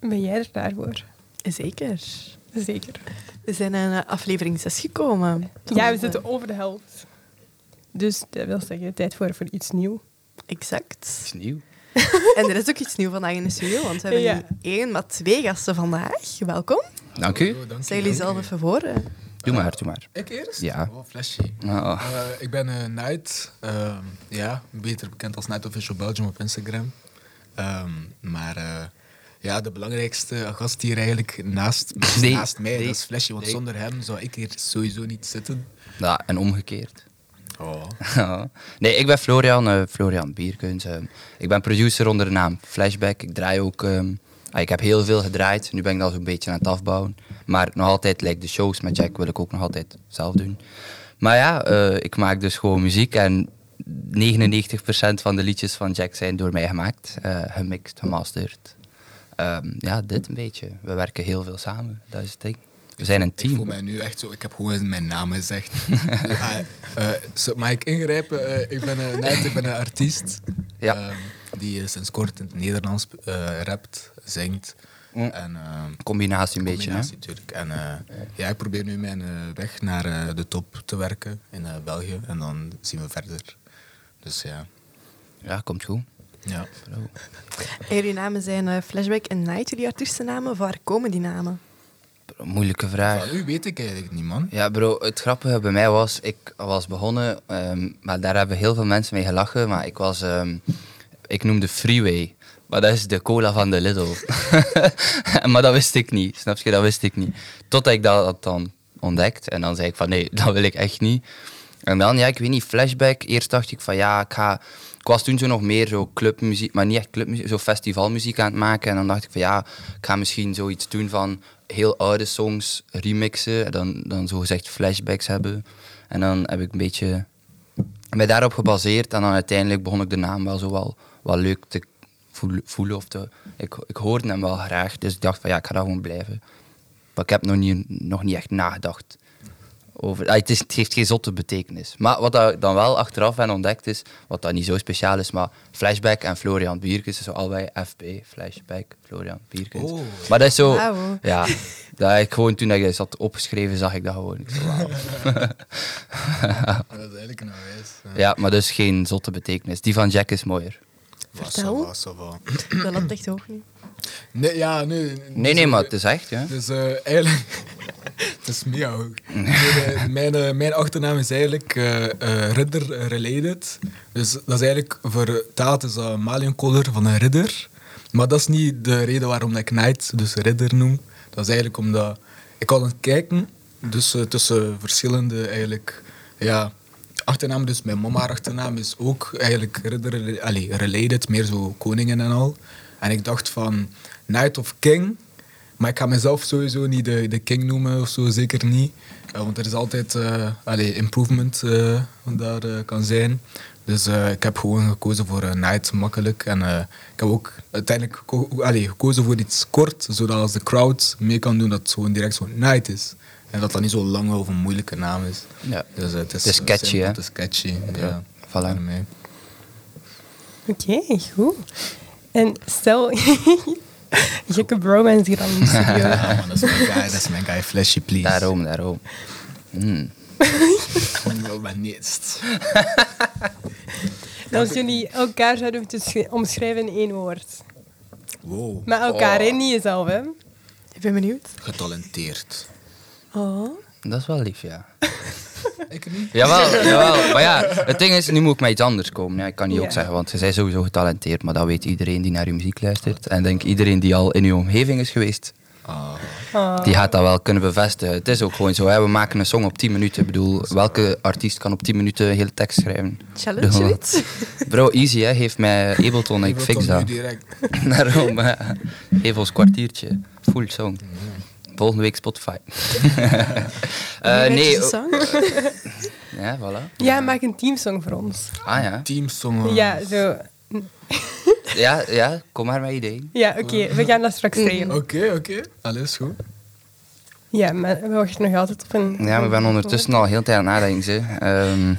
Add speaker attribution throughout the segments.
Speaker 1: Ben jij er klaar voor?
Speaker 2: Zeker.
Speaker 1: Zeker.
Speaker 2: We zijn aan eh, aflevering 6 gekomen.
Speaker 1: Ja, we zitten over de helft. Dus dat wil zeggen, tijd voor, voor iets nieuws.
Speaker 2: Exact.
Speaker 3: is nieuw.
Speaker 2: En er is ook iets nieuws vandaag in de studio, want we hebben
Speaker 1: Ja.
Speaker 2: niet één, maar twee gasten vandaag. Welkom.
Speaker 3: Dank
Speaker 4: Oh,
Speaker 3: u.
Speaker 2: Stel jullie zelf even voor. eh.
Speaker 3: Doe maar, doe maar.
Speaker 4: Ik eerst?
Speaker 3: Ja.
Speaker 4: Oh, flashy.
Speaker 3: Ah,
Speaker 4: Eh, ik ben eh Night, ehm, ja, beter bekend als Night Official Belgium op Instagram. Ehm, maar eh, ja, de belangrijkste gast hier eigenlijk naast,
Speaker 3: Nee,
Speaker 4: naast mij,
Speaker 3: nee,
Speaker 4: dat is Flashy, want
Speaker 3: nee.
Speaker 4: zonder hem zou ik hier sowieso niet zitten.
Speaker 3: ja, en omgekeerd.
Speaker 4: Oh.
Speaker 3: nee, ik ben Florian, eh, Florian Bierkens. eh. ik ben producer onder de naam Flashback. Ik draai ook... ehm, ah, ik heb heel veel gedraaid. Nu ben ik dat zo'n beetje aan het afbouwen. Maar nog altijd, like de shows met Jack, wil ik ook nog altijd zelf doen. Maar ja, eh, ik maak dus gewoon muziek. En 99% van de liedjes van Jack zijn door mij gemaakt. eh, gemixt, gemasterd. Ehm, ja, dit een beetje. We werken heel veel samen. Dat is het ding. We zijn een
Speaker 4: Ik voel
Speaker 3: team.
Speaker 4: mij nu echt zo, ik heb gewoon mijn naam gezegd. Ah, eh, zo, mag ik ingrijpen? Eh, ik ben eh, Night, ik ben een artiest.
Speaker 3: Ja.
Speaker 4: ehm, die eh, sinds kort in het Nederlands eh, rapt, zingt.
Speaker 3: Mm.
Speaker 4: En, ehm,
Speaker 3: Combinatie een beetje, hè?
Speaker 4: Combinatie natuurlijk. En eh, ja, ik probeer nu mijn eh, weg naar eh, de top te werken in eh, België. En dan zien we verder. Dus ja.
Speaker 3: Ja, komt goed.
Speaker 4: ja.
Speaker 2: En jullie namen zijn eh, Flashback en Night, jullie artiestennamen. Waar komen die namen?
Speaker 3: Bro, moeilijke vraag.
Speaker 4: Van u weet ik eigenlijk niet, man.
Speaker 3: Ja, bro, het grappige bij mij was, ik was begonnen, ehm, maar daar hebben heel veel mensen mee gelachen, maar ik was, ehm, ik noemde Freeway, maar dat is de cola van de Lidl. maar dat wist ik niet, snap je, dat wist ik niet. Totdat ik dat had dan ontdekt en dan zei ik van nee, dat wil ik echt niet. En dan, ja, ik weet niet, flashback, eerst dacht ik van ja, ik ga... Ik was toen zo nog meer zo clubmuziek, maar niet echt clubmuziek, zo festivalmuziek aan het maken. En dan dacht ik van ja, ik ga misschien zoiets doen van heel oude songs remixen. En dan, dan zogezegd flashbacks hebben. En dan heb ik een beetje mij daarop gebaseerd. En dan uiteindelijk begon ik de naam wel zo wel, wel leuk te voel- voelen. Of te, ik, ik hoorde hem wel graag, dus ik dacht van ja, ik ga dat gewoon blijven. Maar ik heb nog niet, nog niet echt nagedacht over. Ah, het, is, het heeft geen zotte betekenis. Maar wat dat ik dan wel achteraf ben ontdekt is, wat dat niet zo speciaal is, maar Flashback en Florian Bierkens, dat is zo allebei FB, Flashback, Florian Bierkens.
Speaker 4: Oh.
Speaker 3: Maar dat is zo,
Speaker 2: Wauw.
Speaker 3: ja, dat ik gewoon toen ik dat had opgeschreven, zag ik dat gewoon. Ik zo, wauw.
Speaker 4: Dat is eigenlijk een wijs. eh,
Speaker 3: Ja, maar dus geen zotte betekenis. Die van Jack is mooier.
Speaker 2: Vertel. Dat loopt echt ook niet.
Speaker 4: Nee, ja, nee.
Speaker 3: Nee, nee, maar het is echt, ja.
Speaker 4: Dus eh, eigenlijk... Het is mega hoog. Nee, eh, mijn, eh, mijn achternaam is eigenlijk eh eh, Ridder Related. Dus dat is eigenlijk voor taal, het is dat een maliënkolder van een ridder. Maar dat is niet de reden waarom dat ik Knight, dus Ridder, noem. Dat is eigenlijk omdat ik had aan het kijken dus, eh, tussen verschillende eigenlijk, ja, achternaam. Dus mijn mama haar achternaam is ook eigenlijk Ridder allee, Related, meer zo koningen en al. En ik dacht van Knight of King. Maar ik ga mezelf sowieso niet de, de king noemen of zo, zeker niet. Eh, want er is altijd eh, allee, improvement eh, wat daar eh, kan zijn. Dus eh, ik heb gewoon gekozen voor een night makkelijk. En eh, ik heb ook uiteindelijk ko- allee, gekozen voor iets kort, zodat als de crowd mee kan doen, dat het gewoon direct zo'n night is. En dat dat niet zo'n lange of een moeilijke naam is.
Speaker 3: Ja.
Speaker 4: Dus, eh, het, is
Speaker 3: Het is
Speaker 4: eh,
Speaker 3: catchy, hè?
Speaker 4: simpel, Het is catchy, ja.
Speaker 3: Ja, voilà.
Speaker 4: Voor mij.
Speaker 1: Oké, goed. En stel... Gekke bromance hier aan in de studio.
Speaker 4: Ja, man, dat is mijn guy, dat is mijn guy. Flashy, please.
Speaker 3: Daarom, daarom. Hmm.
Speaker 4: Oh, maar niet.
Speaker 1: En Als jullie elkaar zouden moeten sch- omschrijven in één woord.
Speaker 4: Wow,
Speaker 1: Maar elkaar,
Speaker 3: Oh.
Speaker 1: hè? niet jezelf, hè?
Speaker 2: Ik ben benieuwd.
Speaker 4: getalenteerd.
Speaker 1: Oh.
Speaker 3: Dat is wel lief, ja.
Speaker 4: Ik niet.
Speaker 3: Jawel, jawel. Maar ja, het ding is, nu moet ik met iets anders komen. Ja, ik kan niet
Speaker 1: Ja.
Speaker 3: ook zeggen, want je bent sowieso getalenteerd. Maar dat weet iedereen die naar je muziek luistert. En ik denk iedereen die al in je omgeving is geweest, Ah.
Speaker 1: Oh.
Speaker 3: die gaat dat wel kunnen bevestigen. Het is ook gewoon zo, hè. we maken een song op 10 minuten. Ik bedoel, welke artiest kan op 10 minuten een hele tekst schrijven?
Speaker 2: Challenge,
Speaker 3: Doe.
Speaker 2: zoiets?
Speaker 3: Bro, easy, hè. Geef mij Ableton en ik fix dat. Daarom, hè. geef ons kwartiertje. Full song. Volgende week Spotify. Eh,
Speaker 2: Wie weet
Speaker 3: nee,
Speaker 2: is de
Speaker 3: oh,
Speaker 2: song?
Speaker 3: ja, voilà.
Speaker 1: Ja, maak een teamsong voor ons.
Speaker 3: Ah ja.
Speaker 4: Teamsongen.
Speaker 1: Ja, zo.
Speaker 3: Ja, ja, kom maar met ideeën.
Speaker 1: Ja, oké,
Speaker 3: Hmm.
Speaker 1: we gaan dat straks
Speaker 4: Oké,
Speaker 1: regelen.
Speaker 4: oké. Alles goed.
Speaker 1: Ja, maar we wachten nog altijd op een...
Speaker 3: Ja, maar ik ben ondertussen al heel de tijd aan het nadenken. Ze. Ehm,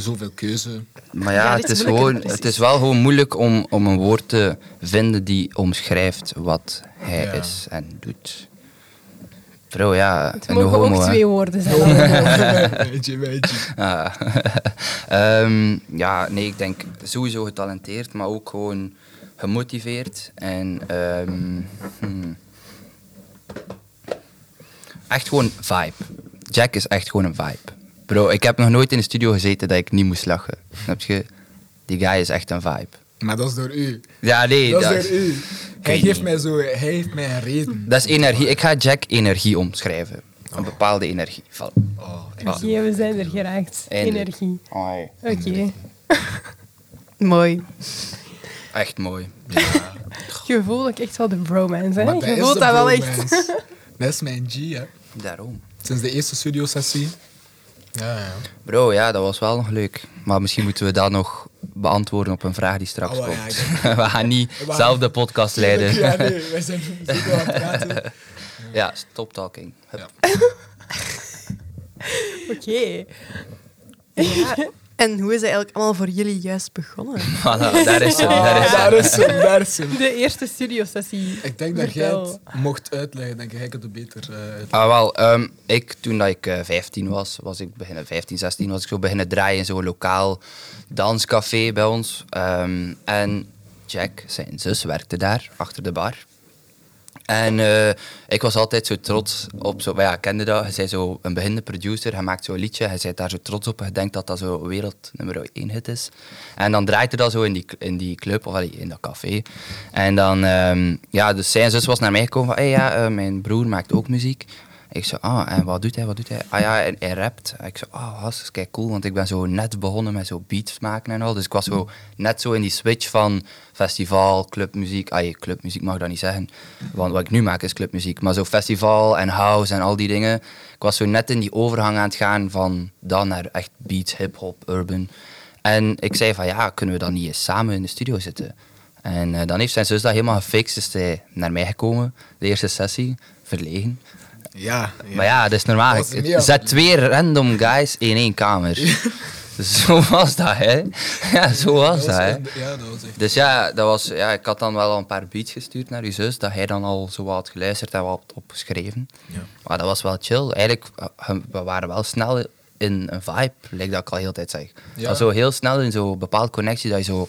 Speaker 4: Zoveel keuze.
Speaker 3: Maar ja,
Speaker 2: Ja, dit
Speaker 3: het, is
Speaker 2: is moeilijker,
Speaker 3: gewoon,
Speaker 2: precies.
Speaker 3: het is wel gewoon moeilijk om, om een woord te vinden die omschrijft wat hij
Speaker 4: Ja.
Speaker 3: is en doet. Bro, ja,
Speaker 1: Het
Speaker 3: een
Speaker 1: mogen
Speaker 3: homo,
Speaker 1: ook
Speaker 3: hè.
Speaker 1: twee woorden zijn.
Speaker 4: Beetje, beetje.
Speaker 3: Ah. Ehm, ja, nee, ik denk sowieso getalenteerd, maar ook gewoon gemotiveerd. En ehm, hmm. echt gewoon vibe. Jack is echt gewoon een vibe. Bro, ik heb nog nooit in de studio gezeten dat ik niet moest lachen. Snap je? Die guy is echt een vibe.
Speaker 4: Maar dat is door u.
Speaker 3: Ja, nee,
Speaker 4: dat is door u. Hij
Speaker 3: weet
Speaker 4: geeft
Speaker 3: niet.
Speaker 4: mij zo, hij heeft mij een reden.
Speaker 3: dat is energie. Ik ga Jack energie omschrijven. Een bepaalde energie. Val.
Speaker 4: Oh,
Speaker 1: Oké, we zijn er geraakt.
Speaker 3: Eindelijk.
Speaker 1: Energie.
Speaker 3: Ai.
Speaker 1: Oké.
Speaker 2: Mooi.
Speaker 3: Echt mooi.
Speaker 1: Je voelt ook echt wel de bromance, hè?
Speaker 4: maar
Speaker 1: Je
Speaker 4: is
Speaker 1: voelt
Speaker 4: de
Speaker 1: dat wel echt.
Speaker 4: bromance. Dat is mijn G, hè.
Speaker 3: Daarom.
Speaker 4: Sinds de eerste studiosessie. Ja, ja.
Speaker 3: Bro, ja, dat was wel nog leuk. Maar misschien moeten we dat nog beantwoorden op een vraag die straks
Speaker 4: Oh, ja,
Speaker 3: komt.
Speaker 4: ik
Speaker 3: we gaan niet
Speaker 4: We gaan-
Speaker 3: zelf de podcast leiden.
Speaker 4: Ja, nee, wij zijn zo aan het praten.
Speaker 3: ja, stop talking. Hup.
Speaker 1: Oké.
Speaker 2: En hoe is dat eigenlijk allemaal voor jullie juist begonnen?
Speaker 3: Voilà, daar is het. Daar is het.
Speaker 4: Ah, daar is hem, daar is hem.
Speaker 1: De eerste studiosessie.
Speaker 4: Ik denk dat jij
Speaker 1: Vertel.
Speaker 4: het mocht uitleggen. Denk ik, jij kunt het beter eh, uitleggen.
Speaker 3: Ah, wel, ehm, ik, toen dat ik eh, 15 was, was ik beginnen, 15, 16, was ik zo beginnen draaien in zo'n lokaal danscafé bij ons. Ehm, en Jack, zijn zus, werkte daar, achter de bar. En eh, ik was altijd zo trots op zo, maar ja, ik kende dat, hij zei zo een beginnende producer, hij maakt zo'n liedje, hij zei daar zo trots op, hij denkt dat dat zo wereld nummer 1 hit is. En dan draait hij dat zo in die, in die club, of allee, in dat café. En dan, ehm, ja, dus zijn zus was naar mij gekomen van, hey, ja, eh, mijn broer maakt ook muziek. Ik zei, ah, en wat doet hij, wat doet hij? Ah ja, en hij rapt. En ik zei, ah, dat is kijk cool, want ik ben zo net begonnen met zo beats maken en al. Dus ik was zo net zo in die switch van festival, clubmuziek. Ah, je, clubmuziek mag ik dat niet zeggen, want wat ik nu maak is clubmuziek. Maar zo festival en house en al die dingen. Ik was zo net in die overgang aan het gaan van dan naar echt beats, hip-hop, urban. En ik zei van, ja, kunnen we dan niet eens samen in de studio zitten? En eh, dan heeft zijn zus dat helemaal gefixt. Is hij naar mij gekomen, de eerste sessie, verlegen.
Speaker 4: Ja,
Speaker 3: Maar ja, dat is normaal.
Speaker 4: Dat was
Speaker 3: Ik-
Speaker 4: niet aan-
Speaker 3: Zet twee random guys in één kamer. zo was dat, hè? Ja, zo was dat, hè?
Speaker 4: Ja, dat was echt.
Speaker 3: Dus ja, dat was, ja, ik had dan wel al een paar beats gestuurd naar uw zus, dat hij dan al zo wat had geluisterd en wat had opgeschreven.
Speaker 4: Ja.
Speaker 3: Maar dat was wel chill. Eigenlijk, eh, we waren wel snel in een vibe, lijkt dat ik al heel de tijd zeg.
Speaker 4: Ja.
Speaker 3: Dat zo heel snel in zo'n bepaalde connectie, dat je zo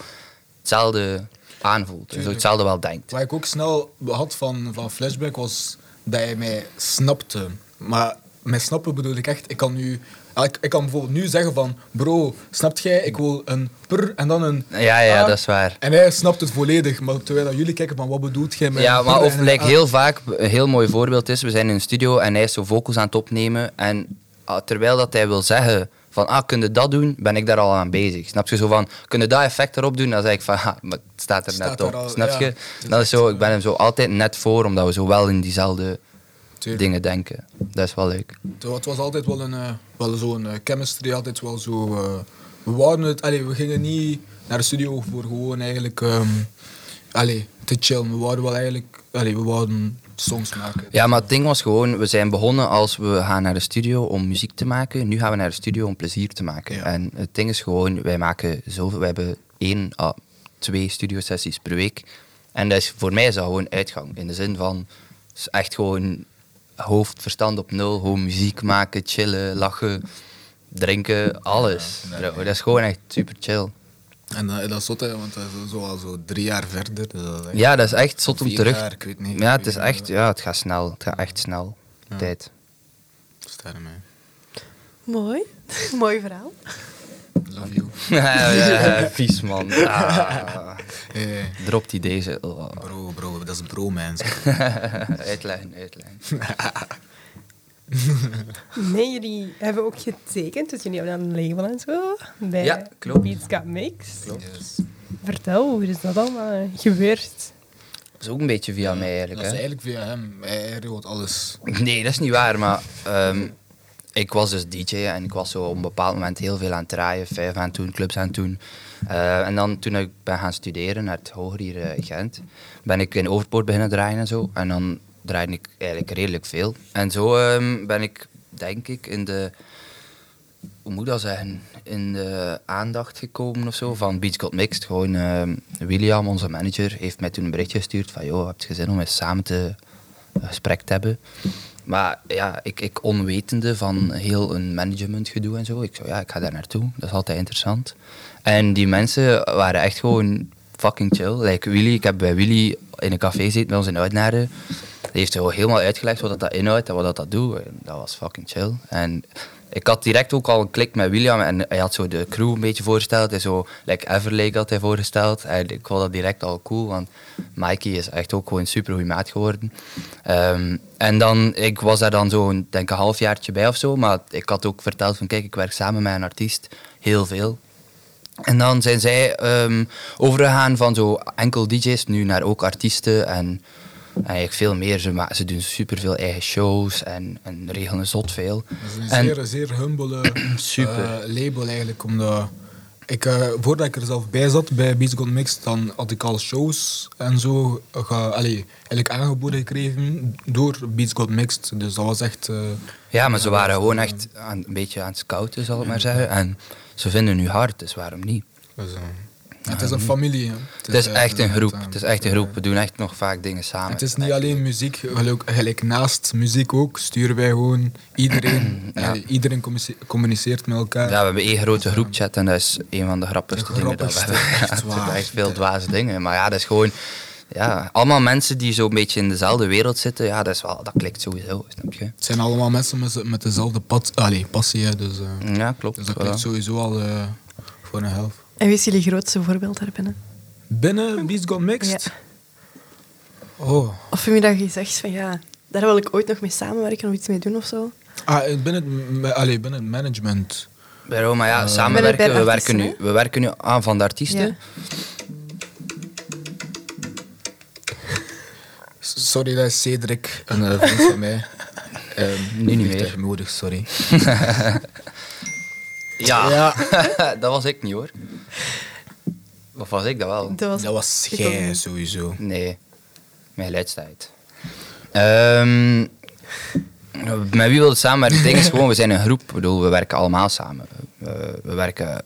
Speaker 3: hetzelfde aanvoelt. En zo
Speaker 4: Tuurlijk.
Speaker 3: hetzelfde wel denkt.
Speaker 4: Wat ik ook snel had van, van Flashback was dat hij mij snapte. Maar met snappen bedoel ik echt, ik kan nu... ah, Ik, ik kan bijvoorbeeld nu zeggen van, bro, snapt jij, ik wil een pr en dan een...
Speaker 3: Ja, ja,
Speaker 4: ah.
Speaker 3: dat is waar.
Speaker 4: En hij snapt het volledig, maar terwijl dat jullie kijken van, wat bedoelt jij met...
Speaker 3: Ja,
Speaker 4: een
Speaker 3: maar
Speaker 4: pr
Speaker 3: of
Speaker 4: en een
Speaker 3: like,
Speaker 4: ah?
Speaker 3: heel vaak een heel mooi voorbeeld is, we zijn in een studio en hij is zo vocals aan het opnemen en ah, terwijl dat hij wil zeggen van, ah, kun je dat doen, ben ik daar al aan bezig. Snap je? Zo van, kun je dat effect erop doen? Dan zeg ik van, ha, maar het staat er
Speaker 4: Staat
Speaker 3: net
Speaker 4: er
Speaker 3: op.
Speaker 4: al,
Speaker 3: Snap
Speaker 4: ja.
Speaker 3: je?
Speaker 4: Het is
Speaker 3: Dat is
Speaker 4: echt,
Speaker 3: zo, ik ben
Speaker 4: eh,
Speaker 3: hem zo altijd net voor, omdat we zo wel in diezelfde
Speaker 4: Tuurlijk.
Speaker 3: dingen denken. Dat is wel leuk.
Speaker 4: Zo, Het was altijd wel, een, eh, wel zo'n eh, chemistry, altijd wel zo... eh, we wouden het... Allee, we gingen niet naar de studio voor gewoon eigenlijk... ehm allee, te chillen. We wouden wel eigenlijk... Allee, we wouden songs maken.
Speaker 3: Ja, maar het ding was gewoon, we zijn begonnen als we gaan naar de studio om muziek te maken. Nu gaan we naar de studio om plezier te maken.
Speaker 4: Ja.
Speaker 3: En het ding is gewoon, wij maken zoveel. We hebben één à twee studiosessies per week. En dat is, voor mij is dat gewoon uitgang. In de zin van s- echt gewoon hoofd, verstand op nul. Gewoon muziek maken, chillen, lachen, drinken, alles. Bro, Dat is gewoon echt super chill.
Speaker 4: En eh, dat is zot, hè, want dat is zo al zo drie jaar verder. Dus dat is echt-
Speaker 3: Ja, dat is echt zot om
Speaker 4: Vier
Speaker 3: terug.
Speaker 4: jaar, ik weet niet.
Speaker 3: Ja, het is echt, ja, het gaat snel. Het gaat echt snel.
Speaker 4: Ja.
Speaker 3: Tijd.
Speaker 4: Sterren, man.
Speaker 2: Mooi. Mooi verhaal.
Speaker 4: Love you.
Speaker 3: ja, vies man. Ah.
Speaker 4: Hey,
Speaker 3: Drop die deze. Oh.
Speaker 4: Eh, bro, bro, dat is bro, man.
Speaker 3: uitleggen, uitleggen.
Speaker 1: Nee, jullie hebben ook getekend, dus jullie hebben dan een label en zo. Bij
Speaker 3: Ja, klopt.
Speaker 1: Beats Got Mix.
Speaker 4: Yes.
Speaker 1: Vertel, hoe is dat allemaal gebeurd?
Speaker 3: Dat is ook een beetje via mij
Speaker 4: Dat
Speaker 3: eigenlijk.
Speaker 4: is
Speaker 3: hè.
Speaker 4: eigenlijk via hem. Hij regelt alles.
Speaker 3: Nee, dat is niet waar, maar ehm, ik was dus DJ en ik was zo op een bepaald moment heel veel aan het draaien, vijf aan het doen, clubs aan het doen. Eh, en dan toen ik ben gaan studeren naar het hoger hier eh, in Gent, ben ik in Overpoort beginnen draaien en zo. En dan draaide ik eigenlijk redelijk veel. En zo ehm, ben ik, denk ik, in de hoe moet ik dat zeggen, in de aandacht gekomen of zo van Beats Got Mixed. Gewoon ehm, William, onze manager, heeft mij toen een berichtje gestuurd van joh, heb je zin om eens samen te een gesprek te hebben. Maar ja, ik, ik onwetende van heel een managementgedoe en zo. Ik zo, ja, ik ga daar naartoe. Dat is altijd interessant. En die mensen waren echt gewoon fucking chill. Like Willy, ik heb bij Willy in een café gezeten met ons in Uitnaren. Die heeft gewoon helemaal uitgelegd wat dat inhoudt en wat dat, dat doet. En dat was fucking chill. En ik had direct ook al een klik met William en hij had zo de crew een beetje voorgesteld. En zo, like Everlake had hij voorgesteld. En ik vond dat direct al cool, want Mikey is echt ook gewoon een super maat geworden. Ehm, en dan, ik was daar dan zo'n, denk een halfjaartje bij of zo. Maar ik had ook verteld van, kijk, ik werk samen met een artiest. Heel veel. En dan zijn zij ehm, overgegaan van zo enkel DJ's nu naar ook artiesten en eigenlijk veel meer. Ze, ma- ze doen superveel eigen shows en, en regelen zot veel.
Speaker 4: Dat is een
Speaker 3: En-
Speaker 4: zeer, zeer humble
Speaker 3: Super.
Speaker 4: eh, label eigenlijk. Omdat ik, eh, voordat ik er zelf bij zat bij Beats Got Mixed, dan had ik al shows en zo ge- allee, eigenlijk aangeboden gekregen door Beats Got Mixed. Dus dat was echt... eh,
Speaker 3: Ja, maar ze waren gewoon echt aan, een beetje aan het scouten, zal ik maar zeggen. En ze vinden nu hard, dus waarom niet?
Speaker 4: dus, eh, het is een familie. hè.
Speaker 3: Het is
Speaker 4: eh,
Speaker 3: echt een groep.
Speaker 4: eh,
Speaker 3: Het is echt een groep. We doen echt nog vaak dingen samen.
Speaker 4: Het is niet alleen muziek, gelijk, gelijk naast muziek ook sturen wij gewoon iedereen.
Speaker 3: Ja.
Speaker 4: eh, iedereen communice- communiceert met elkaar.
Speaker 3: Ja, we hebben één grote groepchat en dat is een van de grappigste
Speaker 4: De
Speaker 3: dingen dat we
Speaker 4: grappigste,
Speaker 3: hebben.
Speaker 4: echt
Speaker 3: Ja, het
Speaker 4: waar.
Speaker 3: zijn echt veel dwaze dingen. Maar ja, dat is gewoon... Ja, allemaal mensen die zo'n beetje in dezelfde wereld zitten, ja, dat, is wel, dat klikt sowieso, snap je?
Speaker 4: Het zijn allemaal mensen met, ze- met dezelfde pad, allee, passie. hè, Dus, eh,
Speaker 3: Ja, klopt.
Speaker 4: dus dat
Speaker 3: voilà.
Speaker 4: klinkt sowieso al eh, voor een helft.
Speaker 2: En wie is jullie grootste voorbeeld daarbinnen?
Speaker 4: Binnen Beats Got Mixed? Oh.
Speaker 2: Of wie dat je zegt van ja, daar wil ik ooit nog mee samenwerken of iets mee doen of zo.
Speaker 4: Ah, eh, binnen, het ma- allee, binnen het management.
Speaker 3: Waarom? maar
Speaker 4: Eh,
Speaker 3: ja,
Speaker 2: Bij
Speaker 3: samenwerken,
Speaker 2: de
Speaker 3: we werken, nu,
Speaker 2: artiesten,
Speaker 3: we werken nu aan van de artiesten.
Speaker 2: Ja.
Speaker 4: S- Sorry, dat is Cedric, een eh, vriend van mij. Ehm,
Speaker 3: Nu niet meer.
Speaker 4: Tegenwoordig, sorry.
Speaker 3: Ja,
Speaker 4: Ja.
Speaker 3: dat was ik niet hoor. Of was ik dat wel?
Speaker 2: Dat was,
Speaker 4: Dat was
Speaker 2: ik ook
Speaker 4: jij
Speaker 2: niet.
Speaker 4: sowieso.
Speaker 3: Nee, mijn leidstijd. Ehm met wie wil het samenwerken? Het ding is gewoon, we zijn een groep. Ik bedoel, we werken allemaal samen. Eh, we werken...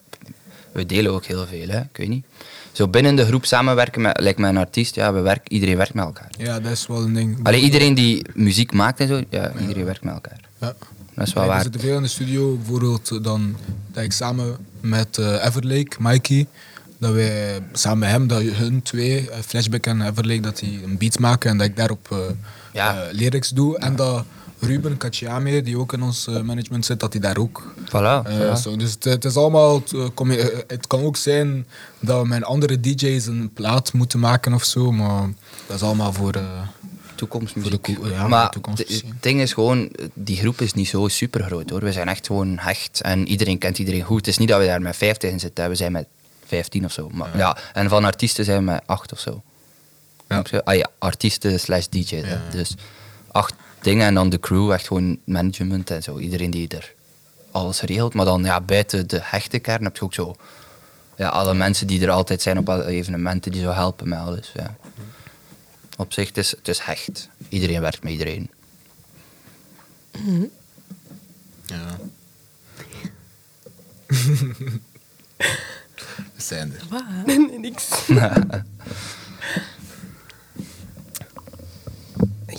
Speaker 3: We delen ook heel veel, hè. Ik weet niet. Zo binnen de groep samenwerken, met, lijkt mij een artiest. Ja, we werken, iedereen werkt met elkaar.
Speaker 4: Ja, dat is wel een ding.
Speaker 3: Alleen iedereen die muziek maakt en zo, ja, iedereen werkt met elkaar.
Speaker 4: Ja.
Speaker 3: Dat is wel
Speaker 4: Nee,
Speaker 3: waar.
Speaker 4: dus We zitten veel in de studio, bijvoorbeeld eh, dan dat ik samen met eh, Everlake, Mikey, dat wij samen met hem, dat hun twee, eh, Flashback en Everlake, dat die een beat maken en dat ik daarop eh
Speaker 3: Ja.
Speaker 4: eh, lyrics doe. En dat Ruben Kachiame, die ook in ons eh, management zit, dat hij daar ook.
Speaker 3: Voilà.
Speaker 4: eh,
Speaker 3: voilà.
Speaker 4: zo. Dus het, het is allemaal, het, eh, kom- eh, het kan ook zijn dat mijn andere DJ's een plaat moeten maken of zo, maar dat is allemaal voor. eh,
Speaker 3: toekomstmuziek.
Speaker 4: Voor de ko- ja, voor
Speaker 3: maar
Speaker 4: de toekomst,
Speaker 3: het-
Speaker 4: precies.
Speaker 3: het ding is gewoon, die groep is niet zo super groot hoor. We zijn echt gewoon hecht en iedereen kent iedereen goed. Het is niet dat we daar met 50 in zitten, we zijn met 15 of zo. Maar, ja. En van artiesten zijn we met 8 of zo.
Speaker 4: Ja.
Speaker 3: Ah ja, artiesten slash DJ. hè. Dus acht dingen en dan de crew, echt gewoon management en zo. Iedereen die er alles regelt. Maar dan ja, buiten de hechte kern heb je ook zo. Ja, alle mensen die er altijd zijn op alle evenementen die zo helpen met alles. Ja. Op zich, het is, het is hecht. Iedereen werkt met iedereen.
Speaker 4: Ja. We zijn er.
Speaker 2: Wauw.
Speaker 1: Nee, nee, niks.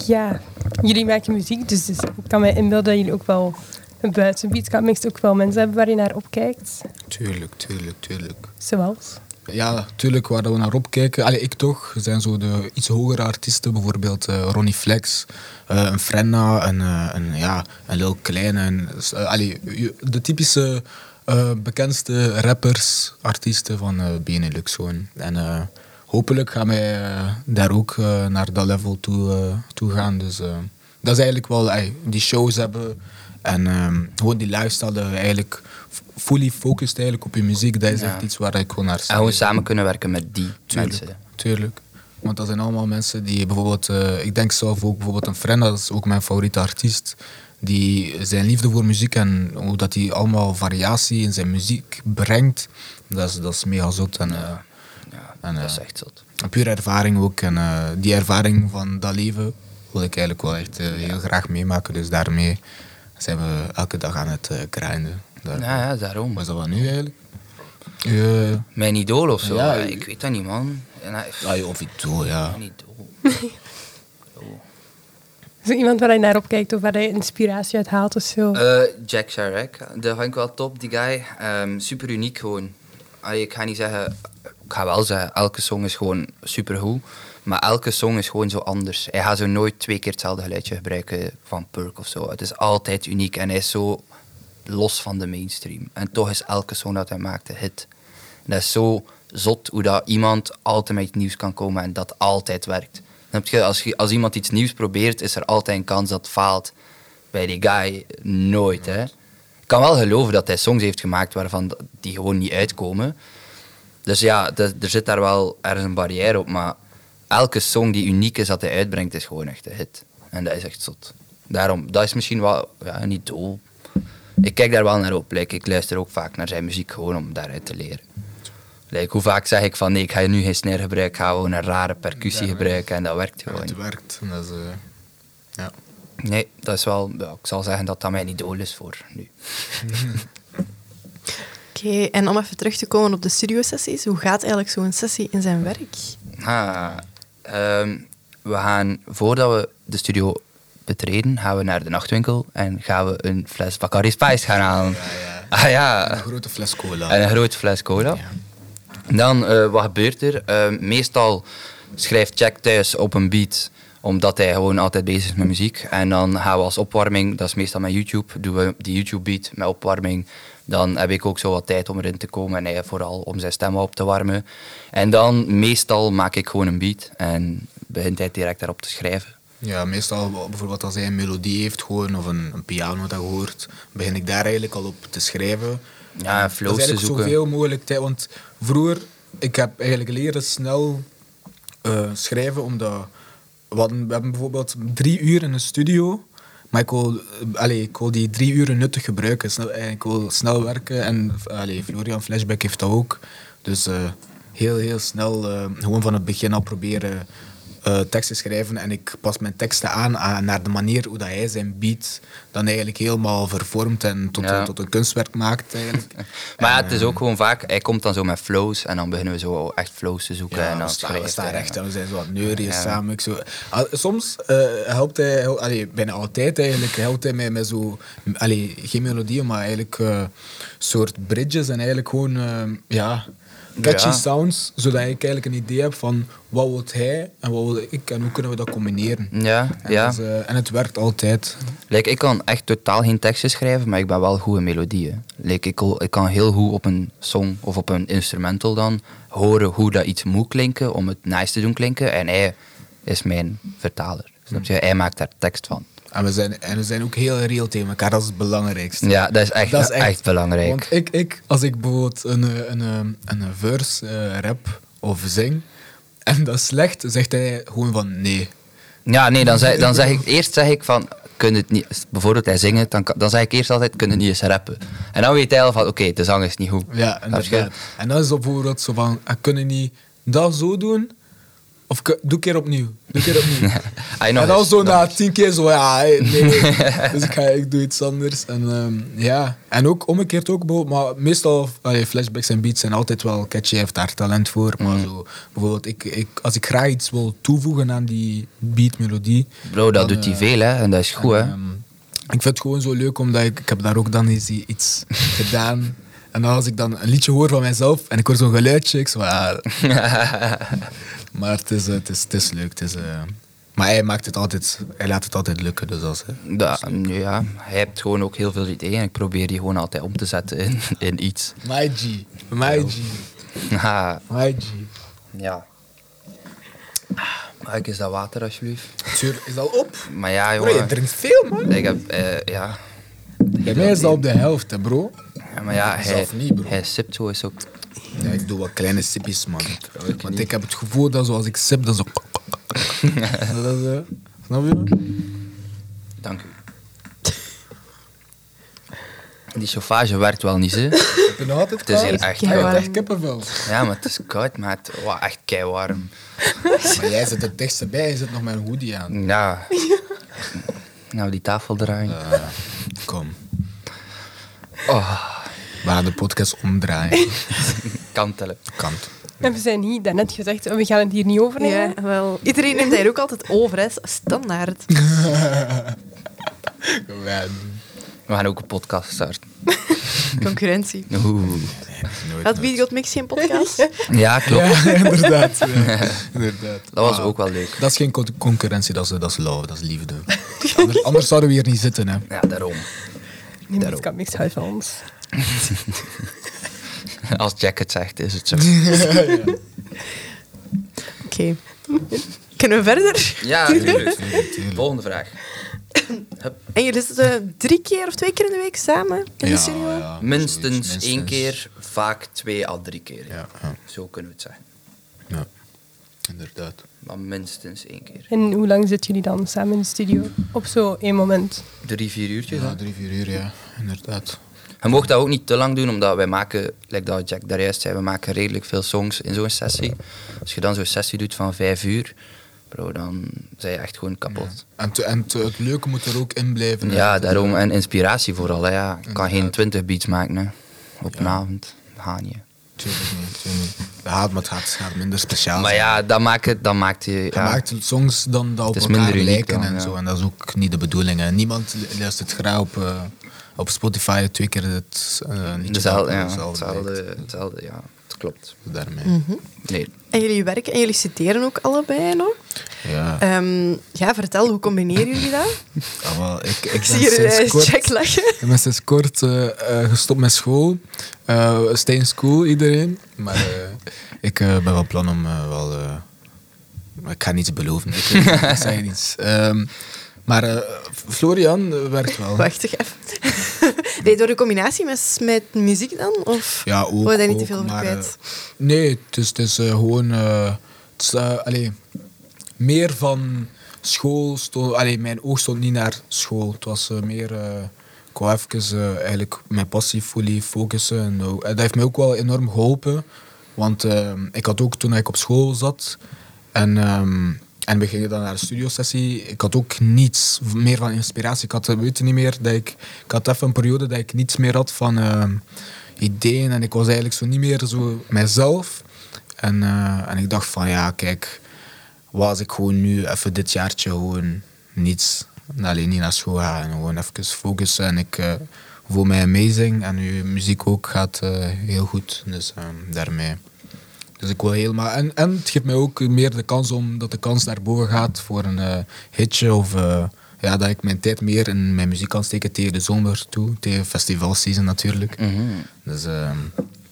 Speaker 1: ja, jullie maken muziek, dus, dus ik kan mij inbeelden dat jullie ook wel buiten Beatcamp Mix ook wel mensen hebben waar je naar opkijkt.
Speaker 4: Tuurlijk, tuurlijk, tuurlijk.
Speaker 1: Zoals?
Speaker 4: Ja, tuurlijk, waar dat we naar opkijken. Allee, ik toch. zijn zo de iets hogere artiesten. Bijvoorbeeld eh, Ronnie Flex, eh, een Frenna, een, eh, een, ja, een Lil Kleine. Een, eh, allee, je- de typische eh, bekendste rappers, artiesten van eh, Benelux gewoon. En eh, hopelijk gaan wij eh, daar ook eh, naar dat level toe, eh, toe gaan. Dus eh, dat is eigenlijk wel... ey, die shows hebben en ehm, gewoon die lifestyle dat we eigenlijk... f- Fully focused eigenlijk op je muziek, dat is
Speaker 3: Ja.
Speaker 4: echt iets waar ik gewoon naar
Speaker 3: En gewoon samen kunnen werken met die
Speaker 4: Tuurlijk,
Speaker 3: mensen.
Speaker 4: tuurlijk. Want dat zijn allemaal mensen die bijvoorbeeld, eh, ik denk zelf ook bijvoorbeeld een Frenna, dat is ook mijn favoriete artiest. Die zijn liefde voor muziek en hoe dat hij allemaal variatie in zijn muziek brengt, dat is, dat is mega zot. En, eh,
Speaker 3: Ja,
Speaker 4: En,
Speaker 3: dat
Speaker 4: eh,
Speaker 3: is echt zot.
Speaker 4: een pure ervaring ook. En eh, die ervaring van dat leven wil ik eigenlijk wel echt eh, heel graag meemaken. Dus daarmee zijn we elke dag aan het eh, grinden. Daar.
Speaker 3: Ja, ja, daarom.
Speaker 4: Wat is dat wat nu eigenlijk? Eh,
Speaker 3: Mijn idool of zo.
Speaker 4: Ja, Ah,
Speaker 3: Ja,
Speaker 4: je-
Speaker 3: ik weet dat niet, man. En hij-
Speaker 4: ja, je- of ik doe, ja.
Speaker 3: Mijn idool. Idool.
Speaker 1: Zo iemand waar je naar opkijkt of waar je inspiratie uit haalt of zo.
Speaker 3: Eh, Jack Chirac, dat vind ik wel top, die guy. Ehm, super uniek gewoon. Allee, ik ga niet zeggen, ik ga wel zeggen, elke song is gewoon super goed. Maar elke song is gewoon zo anders. Hij gaat zo nooit twee keer hetzelfde geluidje gebruiken van Perk of zo. Het is altijd uniek en hij is zo los van de mainstream. En toch is elke song dat hij maakt een hit. En dat is zo zot hoe dat iemand altijd met iets nieuws kan komen en dat altijd werkt. Snap je? Als, je- als iemand iets nieuws probeert, is er altijd een kans dat het faalt. Bij die guy nooit. Hè. Ik kan wel geloven dat hij songs heeft gemaakt waarvan d- die gewoon niet uitkomen. Dus ja, d- er zit daar wel ergens een barrière op. Maar elke song die uniek is dat hij uitbrengt, is gewoon echt een hit. En dat is echt zot. Daarom, dat is misschien wel ja, een idool. Ik kijk daar wel naar op. like, ik luister ook vaak naar zijn muziek gewoon om daaruit te leren. Like, hoe vaak zeg ik van nee, ik ga nu geen snare gebruiken, ik ga gewoon een rare percussie
Speaker 4: Daarmee.
Speaker 3: gebruiken en dat werkt gewoon.
Speaker 4: Het werkt. En dat is, eh, ja.
Speaker 3: Nee, dat is wel, ja, ik zal zeggen dat dat mijn idool is voor nu.
Speaker 2: Oké, en om even terug te komen op de studiosessies. Hoe gaat eigenlijk zo'n sessie in zijn werk?
Speaker 3: Ah, ehm, we gaan, voordat we de studio betreden, gaan we naar de nachtwinkel en gaan we een fles Bacardi Spice gaan halen.
Speaker 4: ja.
Speaker 3: Ah ja,
Speaker 4: Een grote fles cola.
Speaker 3: en een grote fles cola. Dan, eh, wat gebeurt er? Ehm, meestal schrijft Jack thuis op een beat, omdat hij gewoon altijd bezig is met muziek. En dan gaan we als opwarming, dat is meestal met YouTube, doen we die YouTube-beat met opwarming. Dan heb ik ook zo wat tijd om erin te komen en hij vooral om zijn stem wat op te warmen. En dan, meestal maak ik gewoon een beat en begint hij direct daarop te schrijven.
Speaker 4: Ja, meestal wa- bijvoorbeeld als hij een melodie heeft gewoon, of een, een piano dat hoort, begin ik daar eigenlijk al op te schrijven.
Speaker 3: Ja, en flows
Speaker 4: dat is
Speaker 3: te
Speaker 4: eigenlijk
Speaker 3: zoeken.
Speaker 4: zoveel mogelijk tijd. Want vroeger, ik heb eigenlijk leren snel eh, schrijven, omdat we, hadden- we hebben bijvoorbeeld drie uur in een studio, maar ik wil, eh, allee, ik wil die drie uren nuttig gebruiken. Snel, eh, ik wil snel werken en allee, Florian Flashback heeft dat ook. Dus eh, heel, heel snel, eh, gewoon van het begin al proberen eh, teksten schrijven en ik pas mijn teksten aan, aan naar de manier hoe dat hij zijn beat dan eigenlijk helemaal vervormt en tot,
Speaker 3: Ja.
Speaker 4: een, tot een kunstwerk maakt eigenlijk.
Speaker 3: Maar ja, het is ook gewoon vaak, hij komt dan zo met flows en dan beginnen we zo echt flows te zoeken. en
Speaker 4: Ja,
Speaker 3: dan
Speaker 4: we staan, we
Speaker 3: schrijft
Speaker 4: staan
Speaker 3: hij.
Speaker 4: recht en we zijn zo wat neurieën
Speaker 3: nou, Ja.
Speaker 4: samen. Ik zo. Al- Soms eh, helpt hij, hel- allee, bijna altijd eigenlijk, helpt hij mij met zo, allee, geen melodieën, maar eigenlijk eh soort bridges en eigenlijk gewoon, eh, ja, catchy
Speaker 3: Ja.
Speaker 4: sounds, zodat ik eigenlijk een idee heb van wat wil hij en wat wil ik en hoe kunnen we dat combineren.
Speaker 3: Ja,
Speaker 4: En,
Speaker 3: ja.
Speaker 4: dat is, eh, en het werkt altijd.
Speaker 3: Like, ik kan echt totaal geen teksten schrijven, maar ik ben wel goed in melodieën. Like, ik, kan- ik kan heel goed op een song of op een instrumental dan horen hoe dat iets moet klinken om het nice te doen klinken. En hij is mijn vertaler. Snap je? Hij maakt daar tekst van.
Speaker 4: En we zijn, en we zijn ook heel real tegen elkaar, dat is het belangrijkste.
Speaker 3: Ja, dat is echt, echt, belangrijk.
Speaker 4: Want ik, ik, als ik bijvoorbeeld een, eh, een, eh, een, verse eh, rap of zing en dat is slecht, zegt hij gewoon van nee.
Speaker 3: Ja, nee, dan zeg, dan zeg ik eerst zeg ik van. Kun het niet, bijvoorbeeld hij zingt, dan, kan- dan zeg ik eerst altijd: kun het niet eens rappen? En dan weet hij al van: oké, de zang is niet goed.
Speaker 4: Ja,
Speaker 3: Snap je?
Speaker 4: inderdaad. En dat is dan bijvoorbeeld zo van, eh, kunnen niet dat zo doen? Of ke- doe een keer opnieuw. Doe een keer opnieuw.
Speaker 3: Ah, nog
Speaker 4: en dan
Speaker 3: eens,
Speaker 4: zo
Speaker 3: nog
Speaker 4: na tien keer zo, ja, hey, nee. dus ik, ga, ik doe iets anders. En ehm, ja, en ook omgekeerd ook, bijvoorbeeld, maar meestal, allee, flashbacks en beats zijn altijd wel catchy, hij heeft daar talent voor. Maar zo, bijvoorbeeld, ik, ik, als ik graag iets wil toevoegen aan die beatmelodie.
Speaker 3: Bro, dat
Speaker 4: dan,
Speaker 3: doet hij
Speaker 4: eh,
Speaker 3: veel, hè? En dat is goed, hè?
Speaker 4: en, ehm, ik vind het gewoon zo leuk, omdat ik, ik heb daar ook dan eens i- iets gedaan. En dan als ik dan een liedje hoor van mijzelf en ik hoor zo'n geluidje, ik zo, ah. maar het is, eh, het, is, het is leuk. Het is, eh, maar hij, maakt het altijd, hij laat het altijd lukken. Dus als,
Speaker 3: Da, nu ja, hij hebt gewoon ook heel veel ideeën en ik probeer die gewoon altijd om te zetten in, in iets.
Speaker 4: my G, my G,
Speaker 3: Ha,
Speaker 4: my G.
Speaker 3: ja. Mike, is Ah, dat water alsjeblieft?
Speaker 4: Het zuur is al op.
Speaker 3: Maar ja,
Speaker 4: Bro, je
Speaker 3: jongen.
Speaker 4: drinkt veel, man.
Speaker 3: Ik heb, eh, ja.
Speaker 4: Bij mij is dat op de helft, hè, bro.
Speaker 3: Ja, Maar ja, hij,
Speaker 4: Zelf niet, bro.
Speaker 3: hij sipt zo eens op.
Speaker 4: Ja, ik doe wat kleine sipjes, man. Want ik heb het gevoel dat zoals ik sip, dat zo... dat is, eh, snap je?
Speaker 3: Dank u. Die chauffage werkt wel niet, hè?
Speaker 4: Ik ben altijd
Speaker 3: Het is
Speaker 4: koud.
Speaker 3: heel echt
Speaker 4: Ik heb
Speaker 2: koud.
Speaker 4: echt kippenvel.
Speaker 3: Ja, maar het is koud, maar het was echt keiwarm.
Speaker 4: Maar jij zit het dichtste bij, je zit nog met een hoodie aan.
Speaker 3: Ja. Nou, die tafel draaien.
Speaker 4: Kom.
Speaker 3: Oh.
Speaker 4: gaan de podcast omdraaien.
Speaker 3: Kan tellen.
Speaker 4: Kant.
Speaker 1: En we zijn niet daarnet gezegd, oh, we gaan het hier niet overnemen.
Speaker 2: Ja, wel. Iedereen neemt daar ook altijd over, hè. Standaard.
Speaker 4: Gewoon.
Speaker 3: We gaan ook een podcast starten.
Speaker 2: Concurrentie.
Speaker 3: Oeh.
Speaker 4: Nooit,
Speaker 2: Had
Speaker 4: nooit.
Speaker 2: Wie Got Mix geen podcast? Ja.
Speaker 3: Ja, klopt.
Speaker 4: Ja, inderdaad. ja. inderdaad.
Speaker 3: Dat was
Speaker 4: Ah,
Speaker 3: ook wel leuk.
Speaker 4: Dat is geen con- concurrentie, dat is, dat is love, dat is liefde. Anders, anders zouden we hier niet zitten, hè.
Speaker 3: Ja, daarom.
Speaker 1: Niemand kan niks uit van ons.
Speaker 3: Als Jack het zegt, is het zo.
Speaker 2: Oké. Kunnen we verder?
Speaker 3: Ja, natuurlijk.
Speaker 4: tuurlijk.
Speaker 3: Volgende vraag.
Speaker 2: En jullie zitten drie keer of twee keer in de week samen in de studio?
Speaker 4: ja,
Speaker 3: Minstens,
Speaker 4: zoiets, minstens.
Speaker 3: één keer, vaak twee à drie keer.
Speaker 4: Ja, ja,
Speaker 3: Zo kunnen we het zeggen.
Speaker 4: ja. inderdaad.
Speaker 3: Maar minstens één keer.
Speaker 1: En hoe lang zitten jullie dan samen in de studio? Op zo één moment.
Speaker 3: Drie, vier uurtjes. hè.
Speaker 4: Ja, drie, vier uur, ja, inderdaad.
Speaker 3: Je mocht dat ook niet te lang doen, omdat wij maken, like dat Jack daar juist zei, we maken redelijk veel songs in zo'n sessie. Als je dan zo'n sessie doet van vijf uur, bro, dan zijn je echt gewoon kapot.
Speaker 4: En, te- en te- het leuke moet er ook in blijven.
Speaker 3: Ja,
Speaker 4: hè.
Speaker 3: daarom. En inspiratie vooral. Hè, ja. Ik kan geen
Speaker 4: Inderdaad.
Speaker 3: twintig beats maken hè. op een avond. Gaan je.
Speaker 4: Tuurlijk niet, tuurlijk niet. De haat, maar het gaat, het gaat minder speciaal
Speaker 3: Maar
Speaker 4: zijn.
Speaker 3: ja, dat maakt het. Dat maakt je,
Speaker 4: Je
Speaker 3: ja.
Speaker 4: maakt songs dan dat op
Speaker 3: is
Speaker 4: elkaar
Speaker 3: minder uniek
Speaker 4: lijken
Speaker 3: dan,
Speaker 4: en
Speaker 3: ja.
Speaker 4: zo. En dat is ook niet de bedoeling. hè. Niemand lu- luistert graag op, eh, op Spotify twee keer het eh liedje
Speaker 3: Dezelfde,
Speaker 4: dat
Speaker 3: ja,
Speaker 4: hetzelfde
Speaker 3: hetzelfde,
Speaker 4: lijkt. Dus
Speaker 3: hetzelfde, ja. Het klopt.
Speaker 4: Daarmee.
Speaker 2: Mhm.
Speaker 3: Nee.
Speaker 2: En jullie werken en jullie citeren ook allebei nog.
Speaker 4: Ja.
Speaker 2: Ehm, ja, vertel, hoe combineren jullie dat?
Speaker 4: Ah, wel, ik, ik,
Speaker 2: Ik
Speaker 4: ben
Speaker 2: zie hier
Speaker 4: sinds
Speaker 2: eh,
Speaker 4: kort-
Speaker 2: Jack lachen.
Speaker 4: Ik ben sinds kort eh, eh, gestopt met school. Eh stay in school, iedereen. Maar eh, ik eh, ben wel plan om eh, wel... eh, maar ik ga niets beloven. Ik, eh, ik zeg niets. Ehm, maar eh, Florian eh, werkt wel.
Speaker 2: Wacht toch even. nee, door de combinatie met, met muziek dan? Of
Speaker 4: Ja, ook.
Speaker 2: word je Oh, daar niet te
Speaker 4: ook,
Speaker 2: veel over
Speaker 4: maar,
Speaker 2: kwijt?
Speaker 4: eh, nee, het is, het is eh, gewoon... eh, het is, eh, allee, meer van school... Stond, allee, mijn oog stond niet naar school. Het was eh, meer... eh ik wou even eh, eigenlijk mijn passie fully focussen. En, eh, dat heeft mij ook wel enorm geholpen. Want eh, ik had ook toen ik op school zat... En, ehm, en we gingen dan naar de studiosessie. Ik had ook niets meer van inspiratie. Ik had, eh, weet je niet meer, dat ik, ik had even een periode dat ik niets meer had van ehm, ideeën. En ik was eigenlijk zo niet meer zo mijzelf. En, eh, en ik dacht van, ja, kijk, was ik gewoon nu even dit jaartje gewoon niets, alleen niet naar school gaan en gewoon even focussen. En ik eh, voel mij amazing en uw muziek ook gaat eh, heel goed. Dus ehm, daarmee. Dus ik wil helemaal. En, en het geeft mij ook meer de kans om dat de kans naar boven gaat voor een eh, hitje. Of eh, ja, dat ik mijn tijd meer in mijn muziek kan steken tegen de zomer toe. Tegen festivalseason natuurlijk.
Speaker 3: Mhm.
Speaker 4: Dus ehm,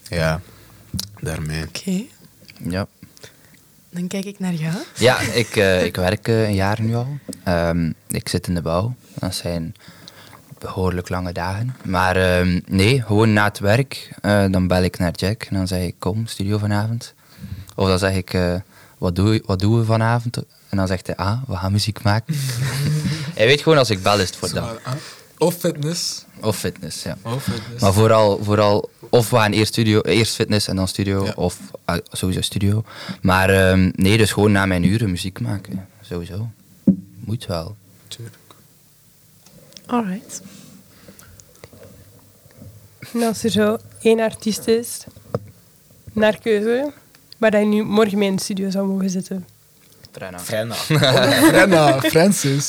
Speaker 4: ja, daarmee.
Speaker 2: Oké,
Speaker 3: Ja.
Speaker 2: dan kijk ik naar jou.
Speaker 3: Ja, ik, eh, ik werk eh, een jaar nu al. Ehm, ik zit in de bouw. Dat zijn behoorlijk lange dagen. Maar ehm, nee, gewoon na het werk, eh, dan bel ik naar Jack en dan zeg ik kom, studio vanavond. Of dan zeg ik, eh, wat, doe, je- wat doen we vanavond? En dan zegt hij, ah, we gaan muziek maken. hij weet gewoon als ik bel is het voor dat.
Speaker 4: Of fitness.
Speaker 3: Of fitness, ja.
Speaker 4: Of fitness.
Speaker 3: Maar vooral, vooral of we gaan eerst, studio, eerst fitness en dan studio,
Speaker 4: Ja.
Speaker 3: of ah, sowieso studio. Maar ehm, nee, dus gewoon na mijn uren muziek maken. Sowieso. Moet wel.
Speaker 4: Tuurlijk.
Speaker 2: Alright.
Speaker 1: En als er zo één artiest is, naar keuze, waar hij nu morgen mee in de studio zou mogen zitten.
Speaker 4: Frenna. Frenna, Francis.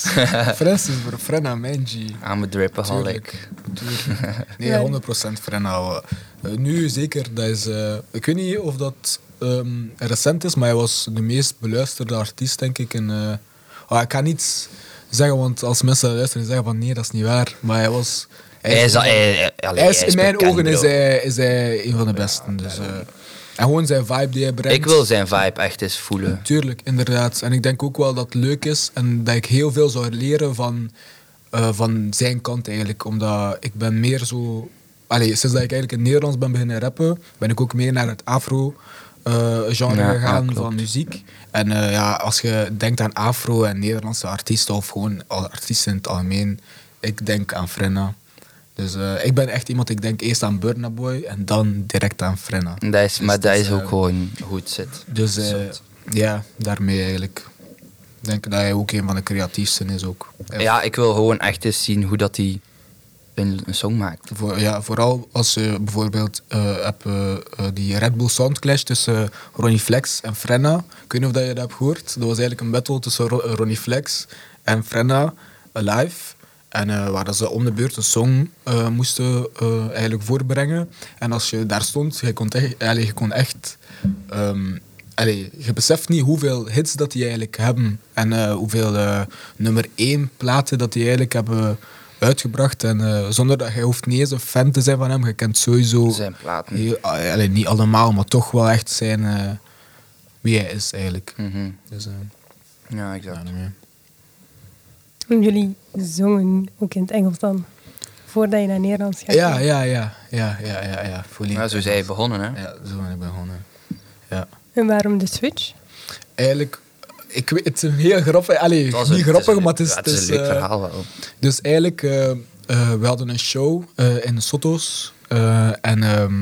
Speaker 4: Francis, bro. Frenna, Manji.
Speaker 3: Aan mijn
Speaker 4: Tuurlijk.
Speaker 3: drippaholic.
Speaker 4: Tuurlijk. Nee,
Speaker 1: Ja.
Speaker 4: 100% Frenna. Eh, nu zeker, dat is, eh, ik weet niet of dat ehm, recent is, maar hij was de meest beluisterde artiest, denk ik. En, eh, ah, ik kan niets zeggen, want als mensen dat luisteren, zeggen van nee, dat is niet waar. Maar hij was...
Speaker 3: Hij is, al- hij, hij- allee,
Speaker 4: Hij is,
Speaker 3: hij is
Speaker 4: in mijn
Speaker 3: bekend,
Speaker 4: ogen is
Speaker 3: bro.
Speaker 4: hij, is hij een van de besten. Dus, eh, en gewoon zijn vibe die hij brengt.
Speaker 3: Ik wil zijn vibe echt eens voelen.
Speaker 4: Tuurlijk, inderdaad. En ik denk ook wel dat het leuk is en dat ik heel veel zou leren van, eh, van zijn kant eigenlijk. Omdat ik ben meer zo... Allee, sinds dat ik eigenlijk in Nederlands ben beginnen rappen, ben ik ook meer naar het afro-genre
Speaker 3: Ja, ja,
Speaker 4: gegaan
Speaker 3: klopt.
Speaker 4: van muziek. En eh, ja, als je denkt aan afro en Nederlandse artiesten of gewoon al artiesten in het algemeen, ik denk aan Frenna. Dus eh, ik ben echt iemand, ik denk eerst aan Burna Boy en dan direct aan Frenna.
Speaker 3: En Dat is,
Speaker 4: Dus
Speaker 3: maar
Speaker 4: het
Speaker 3: dat
Speaker 4: is,
Speaker 3: is ook
Speaker 4: eh,
Speaker 3: gewoon hoe het zit.
Speaker 4: dus eh,
Speaker 3: Zot.
Speaker 4: ja, daarmee eigenlijk. Ik denk dat hij ook een van de creatiefsten is ook.
Speaker 3: Ja, ik wil gewoon echt eens zien hoe dat hij een, een song maakt.
Speaker 4: Voor, ja, vooral als je bijvoorbeeld eh, hebt, eh, eh, die Red Bull Soundclash tussen Ronnie Flex en Frenna. Ik weet niet of dat je dat hebt gehoord. Dat was eigenlijk een battle tussen Ro- eh, Ronnie Flex en Frenna eh, live. En eh, waar dat ze om de beurt een song eh, moesten eh, eigenlijk voorbrengen. En als je daar stond, je kon echt... Allee, je kon echt ehm, allee, je beseft niet hoeveel hits dat die eigenlijk hebben. En eh, hoeveel eh, nummer 1 platen dat die eigenlijk hebben uitgebracht. En eh, zonder dat hij hoeft niet eens een fan te zijn van hem. Je kent sowieso.
Speaker 3: Zijn platen.
Speaker 4: Heel- ah, allee, niet allemaal, maar toch wel echt zijn. eh, wie hij is eigenlijk.
Speaker 3: Mhm.
Speaker 4: Dus, eh,
Speaker 3: Ja,
Speaker 4: ja,
Speaker 3: exact.
Speaker 4: nee, nee.
Speaker 1: Toen jullie zongen, ook in het Engels dan, voordat je naar Nederlands gaat.
Speaker 4: ja, ja, ja, ja, ja, ja, ja. volledig.
Speaker 3: Ja, zo is hij begonnen, hè?
Speaker 4: Ja, zo ben ik begonnen. Ja.
Speaker 1: En waarom de switch?
Speaker 4: Eigenlijk, ik weet, het is een heel grappig. Allee,
Speaker 3: Het was
Speaker 4: niet
Speaker 3: een-
Speaker 4: grappig,
Speaker 3: een-
Speaker 4: maar het is.
Speaker 3: ja, het is een
Speaker 4: eh,
Speaker 3: leuk verhaal wel.
Speaker 4: Dus eigenlijk, eh, eh, we hadden een show eh, in Sotos. eh, en ehm,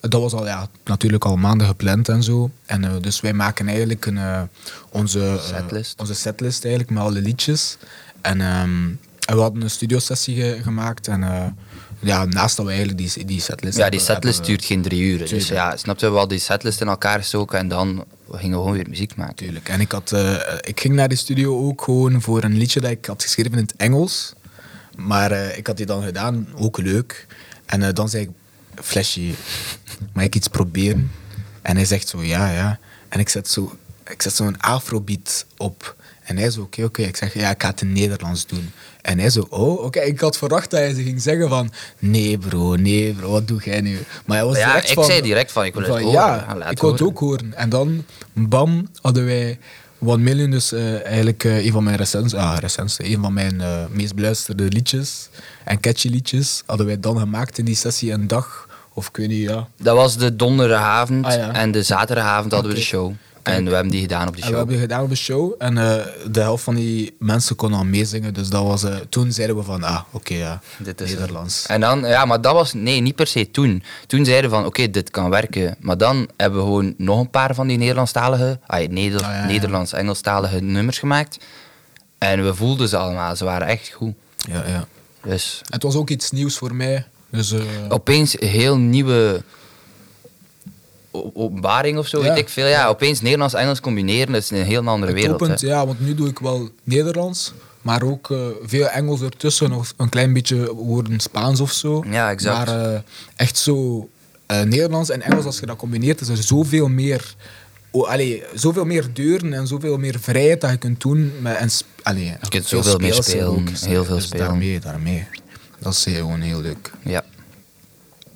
Speaker 4: dat was al, ja, natuurlijk al maanden gepland en zo. En eh, dus wij maken eigenlijk een, eh, onze, eh,
Speaker 3: Setlist.
Speaker 4: onze setlist eigenlijk met alle liedjes. En, ehm, en we hadden een studiosessie ge- gemaakt. En eh, ja, naast dat we eigenlijk die, die setlist
Speaker 3: Ja, die
Speaker 4: hebben-
Speaker 3: setlist
Speaker 4: hebben we-
Speaker 3: duurt geen drie uur. Dus
Speaker 4: Tuurlijk.
Speaker 3: ja, snap je wel, die setlist in elkaar gestoken en dan gingen we gewoon weer muziek maken.
Speaker 4: Tuurlijk. En ik, had, eh, ik ging naar de studio ook gewoon voor een liedje dat ik had geschreven in het Engels. Maar eh, ik had die dan gedaan, ook leuk. En eh, dan zei ik, Flesje, mag ik iets proberen? En hij zegt zo, ja, ja. En ik zet zo'n zo afrobeat op. En hij zo, oké, oké. Ik zeg, ja, ik ga het in Nederlands doen. En hij zo, oh, oké. Ik had verwacht dat hij ze ging zeggen van, nee bro, nee bro, wat doe jij nu? Maar hij was
Speaker 3: Ja,
Speaker 4: direct
Speaker 3: ik
Speaker 4: van-
Speaker 3: zei direct van, ik wil het horen.
Speaker 4: Ja,
Speaker 3: Ja, laat
Speaker 4: ik wil het
Speaker 3: horen.
Speaker 4: ook horen. En dan, bam, hadden wij One Million, dus eh, eigenlijk eh, een van mijn recens, ah, recens, een van mijn eh, meest beluisterde liedjes en catchy liedjes, hadden wij dan gemaakt in die sessie een dag, of ik weet niet, ja.
Speaker 3: Dat was de donderdagavond
Speaker 4: Ah, ja.
Speaker 3: en de zaterdagavond hadden we de
Speaker 4: Oké.
Speaker 3: show. En we hebben die gedaan op de
Speaker 4: En we
Speaker 3: show.
Speaker 4: hebben gedaan op de show en eh, de helft van die mensen kon al meezingen, dus dat was, eh, toen zeiden we van, ah, oké, ja,
Speaker 3: Dit is het. Eh,
Speaker 4: Nederlands.
Speaker 3: En dan, ja, maar dat was, nee, niet per se toen. Toen zeiden we van, oké, dit kan werken. Maar dan hebben we gewoon nog een paar van die Nederlandstalige, ay, Neder-
Speaker 4: Ah, ja, ja.
Speaker 3: Nederlands-Engelstalige nummers gemaakt. En we voelden ze allemaal, ze waren echt goed.
Speaker 4: Ja, ja.
Speaker 3: Dus
Speaker 4: Het was ook iets nieuws voor mij, dus... eh,
Speaker 3: opeens een heel nieuwe o- openbaring of zo,
Speaker 4: Ja.
Speaker 3: weet ik veel. Ja, opeens Nederlands-Engels combineren, dat is een heel andere
Speaker 4: Het
Speaker 3: wereld.
Speaker 4: opent,
Speaker 3: hè.
Speaker 4: ja, want nu doe ik wel Nederlands, maar ook eh, veel Engels ertussen, of een klein beetje woorden Spaans of zo.
Speaker 3: Ja, exact.
Speaker 4: Maar eh, echt zo eh, Nederlands en Engels, als je dat combineert, is er zoveel meer, oh, allee, zoveel meer deuren en zoveel meer vrijheid dat je kunt doen. Met, en sp- allee, je
Speaker 3: kunt zoveel meer spelen, heel veel spelen.
Speaker 4: Dus Daarmee, daarmee. Dat is gewoon heel leuk.
Speaker 3: Ja.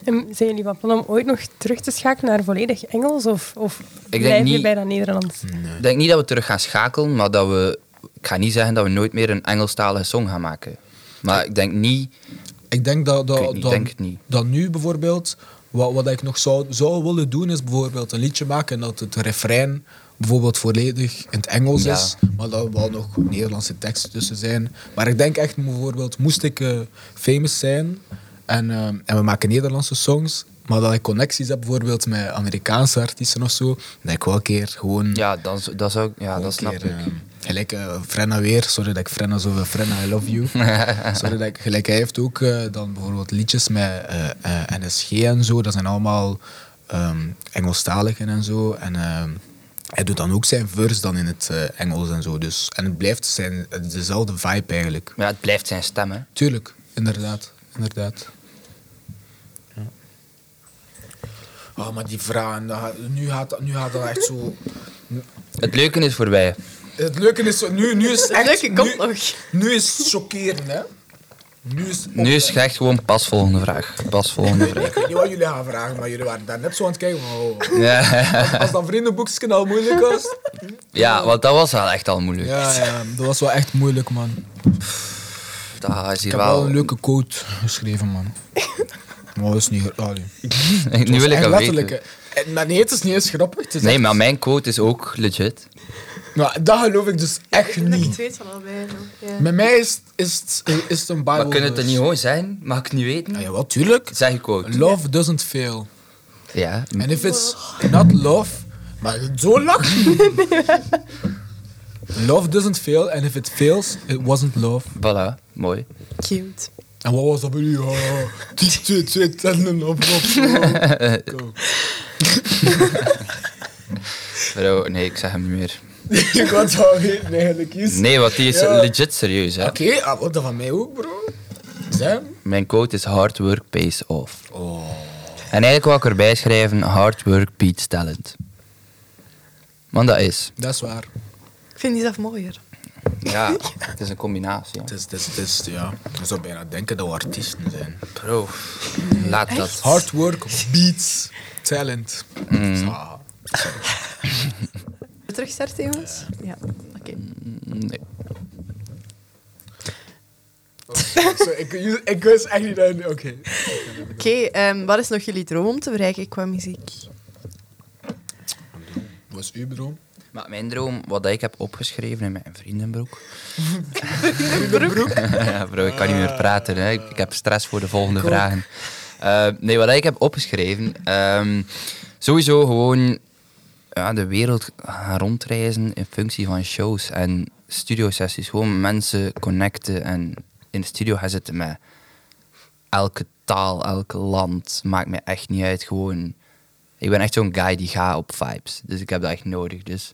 Speaker 1: En zijn jullie van plan om ooit nog terug te schakelen naar volledig Engels? Of, of
Speaker 3: denk
Speaker 1: blijf je
Speaker 3: niet-
Speaker 1: bij dat Nederlands?
Speaker 3: Ik denk niet dat we terug gaan schakelen, maar dat we... Ik ga niet zeggen dat we nooit meer een Engelstalige song gaan maken. Maar ik denk niet...
Speaker 4: Ik denk dat, dat,
Speaker 3: Ik weet niet,
Speaker 4: dat,
Speaker 3: denk het niet.
Speaker 4: dat nu bijvoorbeeld, wat, wat ik nog zou, zou willen doen, is bijvoorbeeld een liedje maken en dat het refrein bijvoorbeeld volledig in het Engels
Speaker 3: Ja.
Speaker 4: is, maar dat er wel nog Nederlandse teksten tussen zijn. Maar ik denk echt bijvoorbeeld, moest ik eh, famous zijn en, eh, en we maken Nederlandse songs, maar dat ik connecties heb bijvoorbeeld met Amerikaanse artiesten of zo, dat ik wel een keer gewoon
Speaker 3: Ja, dan, z- dat, zou, ik- ja, dat snap
Speaker 4: keer,
Speaker 3: ik.
Speaker 4: eh, gelijk eh, Frenna weer, sorry dat ik Frenna zo veel Frenna, I love you. sorry dat ik, gelijk hij heeft ook eh, dan bijvoorbeeld liedjes met eh, eh, NSG en zo, dat zijn allemaal ehm, Engelstaligen en zo. En ehm, hij doet dan ook zijn verse dan in het eh, Engels en zo. Dus, en het blijft zijn, het is dezelfde vibe eigenlijk.
Speaker 3: Maar ja, het blijft zijn stem, hè.
Speaker 4: Tuurlijk, inderdaad. inderdaad. Ja. Oh, maar die vragen, dat gaat- nu gaat, dat- nu gaat dat echt zo...
Speaker 3: Het leuke is voorbij.
Speaker 4: Het leuke is, zo- nu, nu is het
Speaker 2: Het
Speaker 4: echt...
Speaker 2: leuke komt
Speaker 4: nu,
Speaker 2: nog.
Speaker 4: Nu is het chockeren, hè. Nu is het...
Speaker 3: Nu is het echt gewoon pas volgende vraag. Pas volgende vraag.
Speaker 4: Ik weet niet wat jullie gaan vragen, maar jullie waren daar net zo aan het kijken. van, oh,
Speaker 3: Ja.
Speaker 4: Als dat vriendenboekje al moeilijk was...
Speaker 3: ja, want dat was wel echt al moeilijk.
Speaker 4: Ja, ja, dat was wel echt moeilijk, man.
Speaker 3: Dat is
Speaker 4: Ik
Speaker 3: hier
Speaker 4: heb wel
Speaker 3: wel...
Speaker 4: een leuke quote geschreven, man. Maar dat is niet... gra- Allee.
Speaker 3: nu wil ik
Speaker 4: Echt
Speaker 3: dat
Speaker 4: letterlijk,
Speaker 3: weten.
Speaker 4: hè. En- Maar nee, het is niet eens grappig. Het is
Speaker 3: Nee,
Speaker 4: echt-
Speaker 3: maar mijn quote is ook legit.
Speaker 4: Nou, dat geloof ik dus echt
Speaker 2: Ik denk dat ik
Speaker 4: niet.
Speaker 2: het weet van allebei. zo. Ja.
Speaker 4: Met mij is, is, het- is het een Bijbel.
Speaker 3: Maar kunnen het er niet gewoon zijn? Mag ik het niet
Speaker 4: Ja,
Speaker 3: weten?
Speaker 4: jawel, tuurlijk.
Speaker 3: Zeg je quote.
Speaker 4: Love doesn't fail.
Speaker 3: Ja.
Speaker 4: En if it's not love, maar zo lach. love doesn't fail, and if it fails, it wasn't love.
Speaker 3: Voilà. Mooi.
Speaker 2: Cute.
Speaker 4: En wat was dat bij Oh, u? Ja, twee, twee, twee tanden op. op, op. Kom.
Speaker 3: Vrouw, nee, ik zeg hem niet meer.
Speaker 4: Ik had het al weten eigenlijk is.
Speaker 3: Nee, want die is
Speaker 4: Ja.
Speaker 3: legit serieus. Hè.
Speaker 4: Oké, ah, wat dat van mij ook, bro. Sam?
Speaker 3: Mijn quote is hard work pays off. En eigenlijk wil ik erbij schrijven, hard work beats talent. Want dat is.
Speaker 4: Dat is waar.
Speaker 2: Ik vind die zelf mooier.
Speaker 3: Ja, het is een combinatie.
Speaker 4: Het is, het is, het is, ja. Je zou bijna denken dat we artiesten zijn.
Speaker 3: Bro, laat dat.
Speaker 4: Hard work beats talent. Ah. Zo.
Speaker 2: Terugstarten, jongens? Ja, oké.
Speaker 3: Nee.
Speaker 4: Zo, ik, ik wist echt niet dat... Oké.
Speaker 2: Oké, ehm, wat is nog jullie droom om te bereiken qua muziek?
Speaker 4: Wat is uw droom?
Speaker 3: Maar mijn droom, wat ik heb opgeschreven in mijn vriendenbroek. ja, bro, ik kan niet meer praten. Hè. Ik, ik heb stress voor de volgende vragen. Eh, nee, wat ik heb opgeschreven. ehm, sowieso gewoon ja, de wereld gaan rondreizen in functie van shows en studiosessies. Gewoon mensen connecten en in de studio gaan zitten met elke taal, elk land. Maakt me echt niet uit. Gewoon, ik ben echt zo'n guy die gaat op vibes. Dus ik heb dat echt nodig. Dus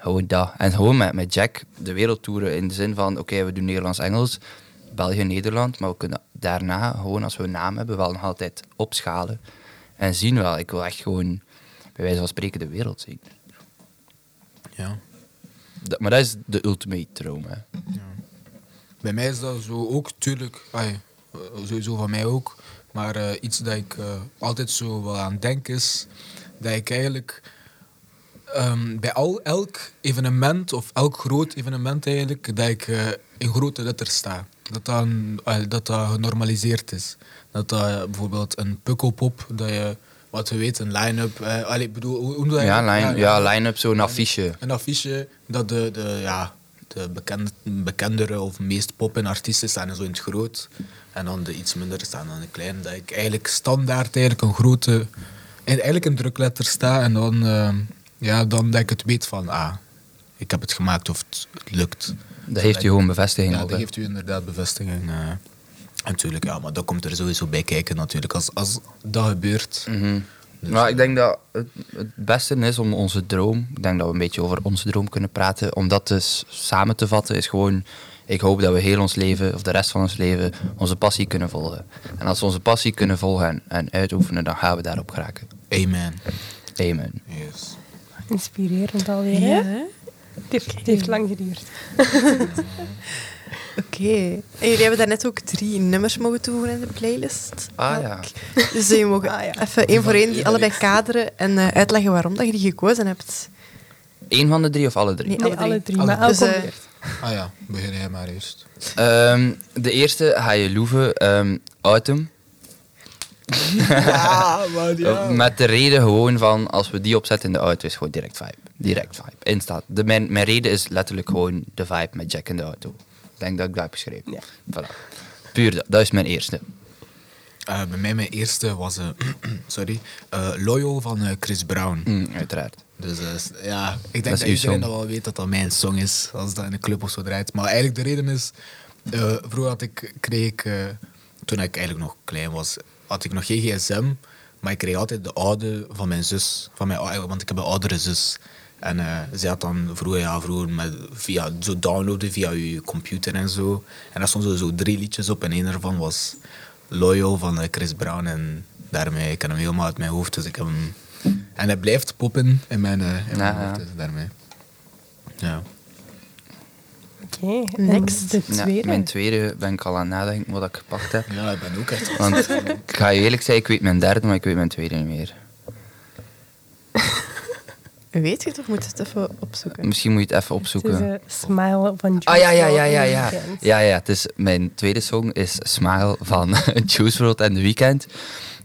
Speaker 3: gewoon dat. En gewoon met, met Jack de wereldtoeren in de zin van: oké, we doen Nederlands-Engels, België-Nederland. Maar we kunnen daarna gewoon, als we een naam hebben, wel nog altijd opschalen. En zien wel. Ik wil echt gewoon, bij wijze van spreken, de wereld zien.
Speaker 4: Ja.
Speaker 3: Dat- maar dat is de ultimate droom. Hè.
Speaker 4: Bij mij is dat zo ook, tuurlijk. ai, eh, sowieso van mij ook. Maar eh, iets dat ik eh, altijd zo wel aan denk is dat ik eigenlijk ehm, bij al, elk evenement of elk groot evenement eigenlijk dat ik eh, in grote letters sta. Dat dat, een- eh, dat dat genormaliseerd is. Dat dat eh, bijvoorbeeld een pukkelpop, dat je wat we weten, een line-up. eh, allee, ik bedoel, hoe, hoe noem je dat?
Speaker 3: Ja,
Speaker 4: eigenlijk?
Speaker 3: line, ja, line-up, zo'n affiche.
Speaker 4: een affiche dat de, de, ja, de bekend, bekendere of meest poppen artiesten staan zo in het groot. En dan de iets minder staan dan de klein. Dat ik eigenlijk standaard eigenlijk een grote, eigenlijk een drukletter sta. En dan, eh, ja, dan dat ik het weet van, ah, ik heb het gemaakt of het lukt.
Speaker 3: Dat heeft u gewoon bevestiging
Speaker 4: Ja,
Speaker 3: op.
Speaker 4: dat
Speaker 3: hè.
Speaker 4: geeft u inderdaad bevestiging. eh. En natuurlijk, ja, maar dat komt er sowieso bij kijken natuurlijk. Als, als dat gebeurt...
Speaker 3: Mhm. Maar ik denk dat het, het beste is om onze droom, ik denk dat we een beetje over onze droom kunnen praten, om dat dus samen te vatten is gewoon, ik hoop dat we heel ons leven, of de rest van ons leven, onze passie kunnen volgen. En als we onze passie kunnen volgen en, en uitoefenen, dan gaan we daarop geraken.
Speaker 4: Amen.
Speaker 3: Amen.
Speaker 4: Yes.
Speaker 1: Inspirerend alweer, hè? Het
Speaker 2: hè?
Speaker 1: heeft, het heeft lang geduurd.
Speaker 2: Oké. En jullie hebben daarnet ook drie nummers mogen toevoegen in de playlist.
Speaker 3: Ah, ja.
Speaker 2: Elk. Dus jullie mogen
Speaker 1: Ah,
Speaker 2: even één voor één die allebei kaderen en eh, uitleggen waarom dat je die gekozen hebt.
Speaker 3: Eén van de drie of alle drie?
Speaker 2: Nee,
Speaker 1: Nee,
Speaker 2: alle
Speaker 1: alle
Speaker 2: drie.
Speaker 1: drie,
Speaker 4: Alle
Speaker 1: maar elk
Speaker 2: drie.
Speaker 1: om
Speaker 2: Dus, eh,
Speaker 1: beurt.
Speaker 4: Ah ja, begin jij maar eerst.
Speaker 3: Ehm, de eerste, ga je loeven, ehm, Autumn.
Speaker 4: Ja, man,
Speaker 3: Eh, Met de reden gewoon van, als we die opzetten in de auto, is gewoon direct vibe. Direct vibe. Instaat. De, mijn, mijn reden is letterlijk gewoon de vibe met Jack in de auto. Ik denk dat ik dat heb geschreven.
Speaker 1: Ja.
Speaker 3: Voilà. Puur dat. Dat is mijn eerste.
Speaker 4: Eh, bij mij mijn eerste was eh, sorry, eh, Loyal van eh, Chris Brown.
Speaker 3: Mm, uiteraard.
Speaker 4: Dus eh, s- ja, ik denk
Speaker 3: is
Speaker 4: dat,
Speaker 3: uw song.
Speaker 4: iedereen dat wel weet dat dat mijn song is, als dat in een club of zo draait. Maar eigenlijk de reden is, eh, vroeger had ik, kreeg ik, eh, toen ik eigenlijk nog klein was, had ik nog geen gsm, maar ik kreeg altijd de oude van mijn zus, van mijn, ou- want ik heb een oudere zus. En eh, zij had dan vroeger, ja, vroeger met, via, zo downloaden via je computer en zo. En daar stonden zo drie liedjes op en één daarvan was Loyal van eh, Chris Brown. En daarmee, ik ken hem helemaal uit mijn hoofd, dus ik heb hem... En hij blijft poppen in mijn, eh, in mijn
Speaker 3: Ja, ja.
Speaker 4: hoofd, dus daarmee. Ja.
Speaker 1: Oké, next.
Speaker 2: Next.
Speaker 1: Mhm. De
Speaker 3: Ja,
Speaker 1: tweede.
Speaker 3: mijn tweede ben ik al aan het nadenken wat ik gepakt heb.
Speaker 4: ja, ik ben ook echt...
Speaker 3: Want ik ga je eerlijk zeggen, ik weet mijn derde, maar ik weet mijn tweede niet meer.
Speaker 2: Weet je het of moet je het even opzoeken?
Speaker 3: Misschien moet je het even
Speaker 1: Het is
Speaker 3: opzoeken.
Speaker 1: eh, Smile van
Speaker 3: Ah
Speaker 1: Juice
Speaker 3: ja, ja, ja,
Speaker 1: WRLD
Speaker 3: ja,
Speaker 1: en
Speaker 3: ja.
Speaker 1: Weeknd.
Speaker 3: Ja, ja. Het is, mijn tweede song is Smile van Juice WRLD en The Weeknd.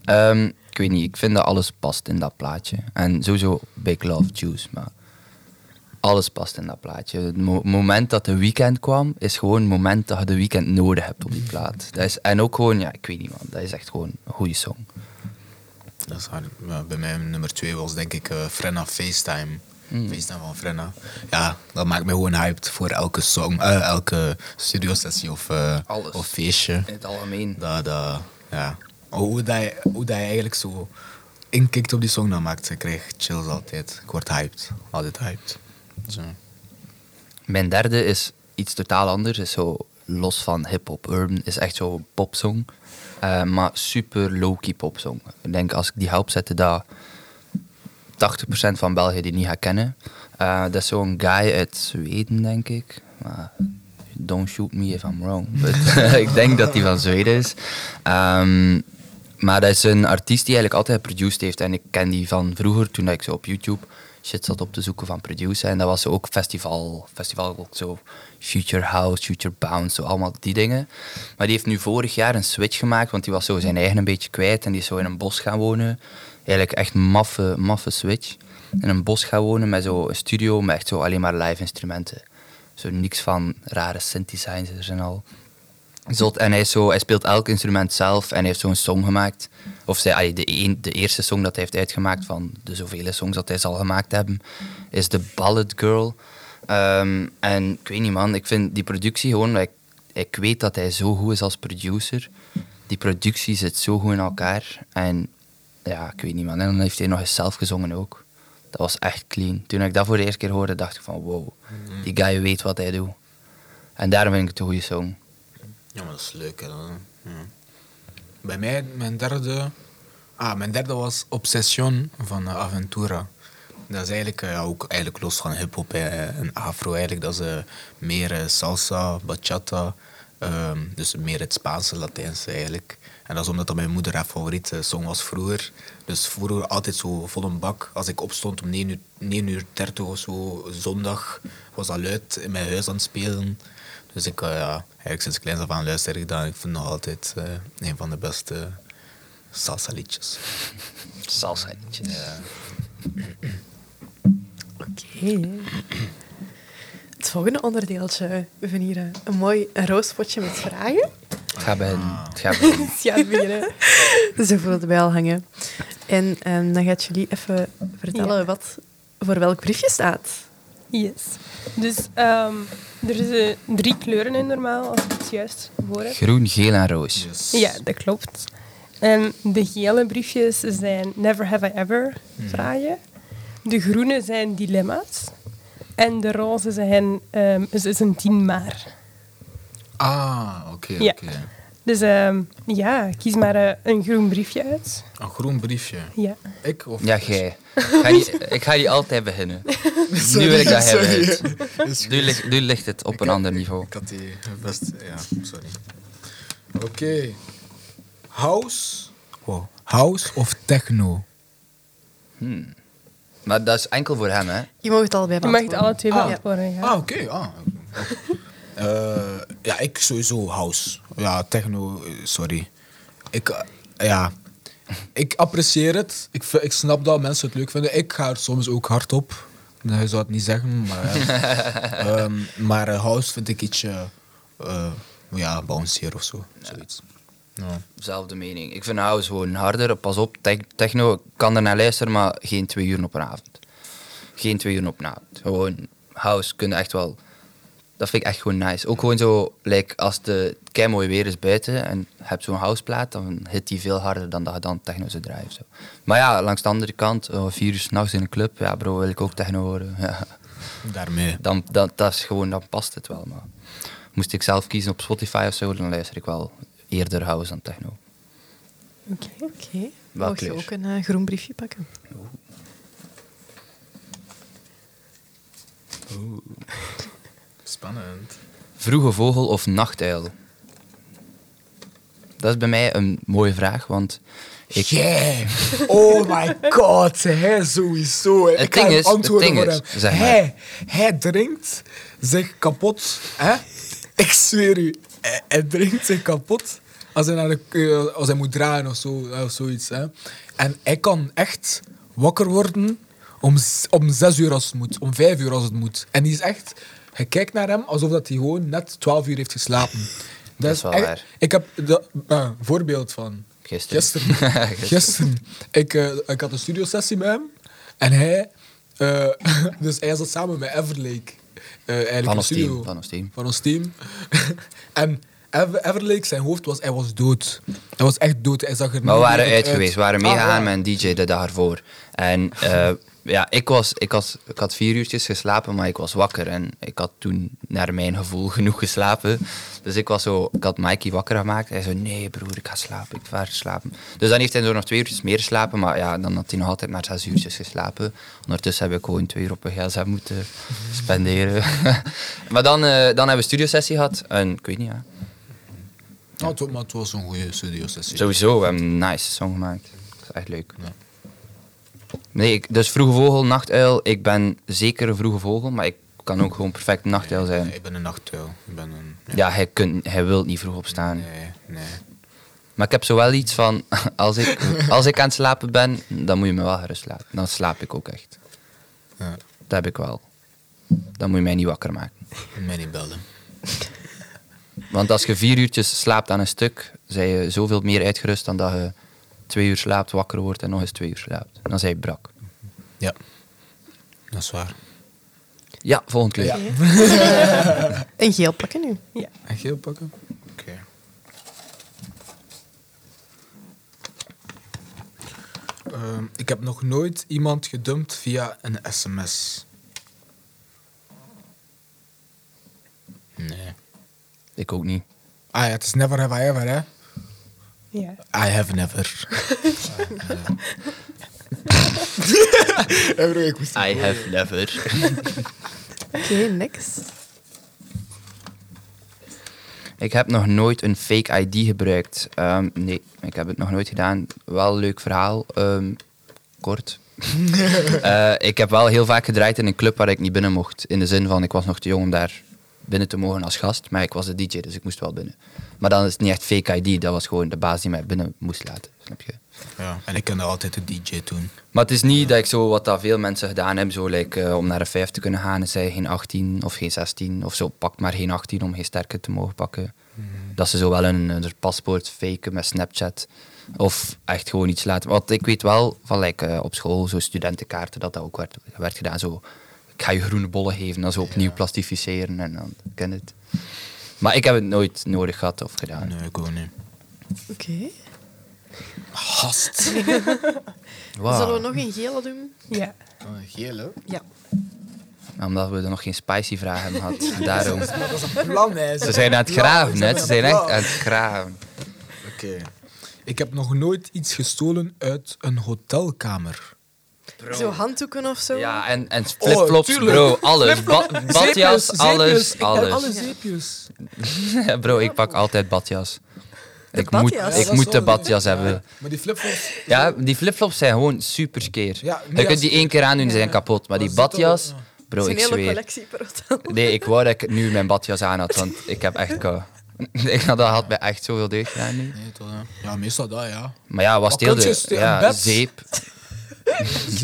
Speaker 3: Ehm, ik weet niet, ik vind dat alles past in dat plaatje. En sowieso Big Love Juice, maar alles past in dat plaatje. Het mo- moment dat de weekend kwam, is gewoon het moment dat je de weekend nodig hebt op die plaat. Dat is, en ook gewoon, ja, ik weet niet man, dat is echt gewoon een goede song.
Speaker 4: Dat is hard. Ja, bij mij nummer twee was denk ik eh Frenna FaceTime.
Speaker 5: Feest dan van Frenna. Ja, dat maakt me gewoon hyped voor elke song, eh, elke studiosessie of, eh,
Speaker 3: Alles.
Speaker 5: of feestje.
Speaker 3: In het algemeen.
Speaker 5: Dat, dat, ja. Oh, Hoe dat, je- hoe dat je eigenlijk zo inkikt op die song, dat maakt. Ik krijg chills altijd. Ik word hyped. Altijd hyped. Zo.
Speaker 3: Mijn derde is iets totaal anders. Is zo los van hip-hop. Urban is echt zo'n popsong. Eh, maar super low-key popsong. Ik denk als ik die ga opzetten, dat 80% van België die niet gaat kennen. Eh, dat is zo'n guy uit Zweden, denk ik. Maar don't shoot me if I'm wrong. But ik denk dat die van Zweden is. Ehm, maar dat is een artiest die eigenlijk altijd geproduced heeft. En ik ken die van vroeger, toen ik zo op YouTube shit zat op te zoeken van produceren. En dat was zo ook festival, festival ook zo Future House, Future Bounce, zo allemaal die dingen. Maar die heeft nu vorig jaar een switch gemaakt, want die was zo zijn eigen een beetje kwijt. En die is zo in een bos gaan wonen. Eigenlijk echt maffe, maffe switch. In een bos gaan wonen met zo'n studio met echt zo alleen maar live instrumenten. Zo niks van rare synthesizers en al. Zot, en hij, is zo, hij speelt elk instrument zelf en hij heeft zo'n song gemaakt. Of zij, allee, de, een- de eerste song dat hij heeft uitgemaakt van de zoveel songs dat hij zal gemaakt hebben, is The Ballad Girl. Ehm, en ik weet niet man, ik vind die productie gewoon, ik, ik weet dat hij zo goed is als producer. Die productie zit zo goed in elkaar. En ja, ik weet niet man. En dan heeft hij nog eens zelf gezongen ook. Dat was echt clean. Toen ik dat voor de eerste keer hoorde, dacht ik van wow, die guy weet wat hij doet. En daarom vind ik het een goede song.
Speaker 5: Ja, maar dat is leuk. Hè, ja.
Speaker 4: Bij mij, mijn derde... Ah, mijn derde was Obsession van eh, Aventura.
Speaker 5: Dat is eigenlijk eh, ook eigenlijk los van hip-hop eh, en afro. Eigenlijk, dat is eh, meer eh, salsa, bachata. ehm, dus meer het Spaanse, Latijnse eigenlijk. En dat is omdat dat mijn moeder haar favoriete eh, song was vroeger. Dus vroeger altijd zo vol een bak. Als ik opstond om 9 uur, 9 uur 30 of zo, zondag, was dat luid in mijn huis aan het spelen. Dus ik, eh, ja, eigenlijk sinds kleins af aan luister ik dat. Ik vind het nog altijd eh, een van de beste salsa liedjes.
Speaker 3: Salsa
Speaker 2: Het volgende onderdeeltje, we hebben hier eh, een mooi roospotje met vragen.
Speaker 3: Het gaat beginnen. Het gaat beginnen.
Speaker 2: Ja, beginnen. Ze voelen het bij al hangen. En ehm, dan gaat jullie even vertellen
Speaker 1: Ja.
Speaker 2: wat voor welk briefje staat.
Speaker 1: Yes. Dus ehm, er zijn drie kleuren in normaal, als ik het juist hoor heb.
Speaker 3: Groen, geel en roos.
Speaker 1: Ja, dat klopt. En de gele briefjes zijn Never Have I Ever
Speaker 3: Mhm.
Speaker 1: vragen. De groene zijn dilemma's. En de roze zijn, ehm is, is een tien maar.
Speaker 5: Ah, oké,
Speaker 1: Ja. Dus ehm, ja, kies maar eh, een groen briefje uit.
Speaker 4: Een groen briefje.
Speaker 1: Ja.
Speaker 4: Ik of...
Speaker 3: Ja, jij. Ik ga die- Ik ga die altijd beginnen. nu wil ik dat hebben. uit. Nu, ligt- nu ligt het op een ander niveau.
Speaker 5: Ik had die best... Ja, sorry.
Speaker 4: Oké. House... Wow. House of techno?
Speaker 3: Maar dat is enkel voor hem, hè?
Speaker 2: Je mag het allebei
Speaker 1: Je mag het
Speaker 2: beantwoorden.
Speaker 1: alle twee beantwoorden. Ja.
Speaker 5: Ah, oké. ah. Eh, ja, ik sowieso house. Ja, techno, eh, sorry. Ik, eh, ja...
Speaker 4: Ik apprecieer het. Ik, v- ik snap dat mensen het leuk vinden. Ik ga er soms ook hard op. Nou, je zou het niet zeggen, maar... ja. Ehm,
Speaker 5: Maar eh, house vind ik ietsje... eh ja, bouncier of zo. Zoiets. Ja.
Speaker 3: Zelfde mening. Ik vind house gewoon harder. Pas op, tech- techno ik kan er naar luisteren, maar geen twee uur op een avond. Geen twee uur op een avond. Gewoon house kunnen echt wel. Dat vind ik echt gewoon nice. Ook gewoon zo, like, als de kei mooi weer is buiten en je hebt zo'n houseplaat, dan hit die veel harder dan dat je dan techno zou draaien. of zo. Maar ja, langs de andere kant, eh, vier uur s'nachts in een club, ja bro, wil ik ook techno horen. Ja.
Speaker 5: Daarmee.
Speaker 3: Dan, dan, dat is gewoon, dan past het wel. Maar moest ik zelf kiezen op Spotify of zo, dan luister ik wel eerder house dan techno.
Speaker 1: Oké.
Speaker 2: Oké.
Speaker 3: Welk
Speaker 2: Mag je
Speaker 3: kleur?
Speaker 2: ook een eh, groen briefje pakken?
Speaker 5: Spannend.
Speaker 3: Vroege vogel of nachtuil? Dat is bij mij een mooie vraag, want ik,
Speaker 5: Yeah!
Speaker 4: Oh my god, hij sowieso. hè.
Speaker 3: Het
Speaker 4: Ik ga
Speaker 3: ding
Speaker 4: hem
Speaker 3: is- het
Speaker 4: antwoorden
Speaker 3: ding
Speaker 4: voor
Speaker 3: is,
Speaker 4: hem.
Speaker 3: zeg maar.
Speaker 4: hij, hij drinkt zich kapot. Hè? Ik zweer u, hij, hij drinkt zich kapot als hij, naar de, eh, als hij moet draaien of, zo, eh, of zoiets. Hè? En hij kan echt wakker worden om, z- om zes uur als het moet, om vijf uur als het moet. En die is echt, je kijkt naar hem alsof dat hij gewoon net twaalf uur heeft geslapen. Dat,
Speaker 3: is wel
Speaker 4: echt-
Speaker 3: waar.
Speaker 4: Ik heb daar een voorbeeld van.
Speaker 3: Gisteren.
Speaker 4: Gisteren. Gisteren. Ik, eh, ik had een studiosessie met hem. En hij Eh, dus hij zat samen met Everlake. eh, eigenlijk
Speaker 3: Van
Speaker 4: in
Speaker 3: ons
Speaker 4: studio.
Speaker 3: team, van ons team.
Speaker 4: Van ons team. en Ever- Everlake, zijn hoofd was, hij was dood. Hij was echt dood. Hij zag er
Speaker 3: Maar we
Speaker 4: niet
Speaker 3: waren
Speaker 4: levend
Speaker 3: uit geweest. We waren
Speaker 4: Ah,
Speaker 3: meegegaan
Speaker 4: ja.
Speaker 3: met een DJ de dag ervoor. En eh, ja, ik, was, ik, had, ik had vier uurtjes geslapen, maar ik was wakker. En ik had toen, naar mijn gevoel, genoeg geslapen. Dus ik, was zo, ik had Mikey wakker gemaakt. Hij zei, nee broer, ik ga slapen. Ik ga slapen. Dus dan heeft hij zo nog twee uurtjes meer geslapen. Maar ja, dan had hij nog altijd maar zes uurtjes geslapen. Ondertussen heb ik gewoon twee uur op een gsm moeten spenderen. maar dan, eh, dan hebben we studiosessie gehad. En ik weet niet, ja.
Speaker 5: Ja, het wa- maar het was een goede studio sessie.
Speaker 3: Sowieso, we hebben een nice song gemaakt. Dat is echt leuk.
Speaker 5: Ja.
Speaker 3: Nee, ik, dus vroege vogel, nachtuil. Ik ben zeker een vroege vogel, maar ik kan ook gewoon perfect een nachtuil zijn.
Speaker 5: Nee, ik ben een nachtuil. Ik ben een...
Speaker 3: Ja, hij, kunt, hij wil niet vroeg opstaan.
Speaker 5: Nee, nee.
Speaker 3: Maar ik heb zo wel iets van, als ik, als ik aan het slapen ben, dan moet je me wel gerust laten. Dan slaap ik ook echt.
Speaker 5: Ja.
Speaker 3: Dat heb ik wel. Dan moet je mij niet wakker maken.
Speaker 5: Mij niet bellen.
Speaker 3: Want als je vier uurtjes slaapt aan een stuk, ben je zoveel meer uitgerust dan dat je twee uur slaapt, wakker wordt en nog eens twee uur slaapt. Dan zijn je brak.
Speaker 5: Ja. Dat is waar.
Speaker 3: Ja, volgend kleur.
Speaker 2: Een geel pakken nu.
Speaker 1: Ja.
Speaker 4: En geel pakken.
Speaker 5: Oké.
Speaker 4: Ehm, ik heb nog nooit iemand gedumpt via een sms.
Speaker 5: Nee.
Speaker 3: Ik ook niet.
Speaker 4: Ah ja, het is never have I ever, hè?
Speaker 1: ja.
Speaker 5: I have never.
Speaker 4: ik moest
Speaker 3: I have never.
Speaker 2: Oké, niks.
Speaker 3: Ik heb nog nooit een fake ID gebruikt. Ehm, nee, ik heb het nog nooit gedaan. Wel een leuk verhaal. ehm, kort. Eh, ik heb wel heel vaak gedraaid in een club waar ik niet binnen mocht. In de zin van, ik was nog te jong om daar binnen te mogen als gast. Maar ik was de DJ, dus ik moest wel binnen. Maar dan is het niet echt fake ID. Dat was gewoon de baas die mij binnen moest laten. Snap je?
Speaker 5: Ja. En ik kende altijd de DJ toen.
Speaker 3: Maar het is niet dat ik zo wat dat veel mensen gedaan hebben, zo, like, eh, om naar een vijf te kunnen gaan, en zij geen 18 of geen 16 of zo. Pak maar geen 18 om geen sterke te mogen pakken. Dat ze zo wel een, een paspoort faken met Snapchat. Of echt gewoon iets laten. Want ik weet wel van like, eh, op school, zo studentenkaarten, dat dat ook werd, werd gedaan. Zo, ik ga je groene bollen geven, dan zo opnieuw plastificeren en dan ken je het. Maar ik heb het nooit nodig gehad of gedaan.
Speaker 5: Nee, ik ook niet.
Speaker 2: Oké.
Speaker 5: Gast.
Speaker 3: Wauw.
Speaker 2: Zullen we nog een gele doen?
Speaker 1: ja.
Speaker 3: Oh,
Speaker 5: Geel, hè?
Speaker 2: Ja.
Speaker 3: Omdat we er nog geen spicy vragen hebben gehad. Daarom.
Speaker 4: plan, hè.
Speaker 3: Ze zijn aan het graven, hè? Ze zijn echt aan het graven.
Speaker 5: Oké.
Speaker 4: Ik heb nog nooit iets gestolen uit een hotelkamer.
Speaker 2: Zo handdoeken of zo?
Speaker 3: Ja, en, en
Speaker 4: Oh,
Speaker 3: flipflops,
Speaker 4: tuurlijk.
Speaker 3: bro. Alles. Ba- badjas, alles,
Speaker 4: Ik heb alle
Speaker 3: alles.
Speaker 4: zeepjes.
Speaker 3: bro, ik pak altijd badjas. ik moet,
Speaker 2: badjas? Ja,
Speaker 3: ik
Speaker 4: dat
Speaker 3: moet
Speaker 4: is
Speaker 3: de
Speaker 4: wel-
Speaker 3: badjas hebben.
Speaker 4: Maar die flipflops...
Speaker 3: Ja, die flipflops zijn gewoon super skeer.
Speaker 4: Ja, nu
Speaker 3: je kunt
Speaker 4: als-
Speaker 3: die één keer aandoen, die zijn kapot. Maar
Speaker 4: Maar
Speaker 3: die
Speaker 4: ze zitten
Speaker 3: badjas,
Speaker 4: wel-
Speaker 3: bro,
Speaker 2: Zijn
Speaker 3: ik
Speaker 2: hele
Speaker 3: zweer.
Speaker 2: collectie per hotel.
Speaker 3: Nee, ik wou dat ik nu mijn badjas aan had, want ik heb echt kou. Ik had dat had mij echt zoveel deugd gedaan nu.
Speaker 5: Nee, toch, hè? Ja, meestal dat, ja.
Speaker 3: Maar ja, was het
Speaker 4: Maar
Speaker 3: heel
Speaker 4: kun je
Speaker 3: de
Speaker 4: eens in
Speaker 3: ja,
Speaker 4: bed?
Speaker 3: zeep.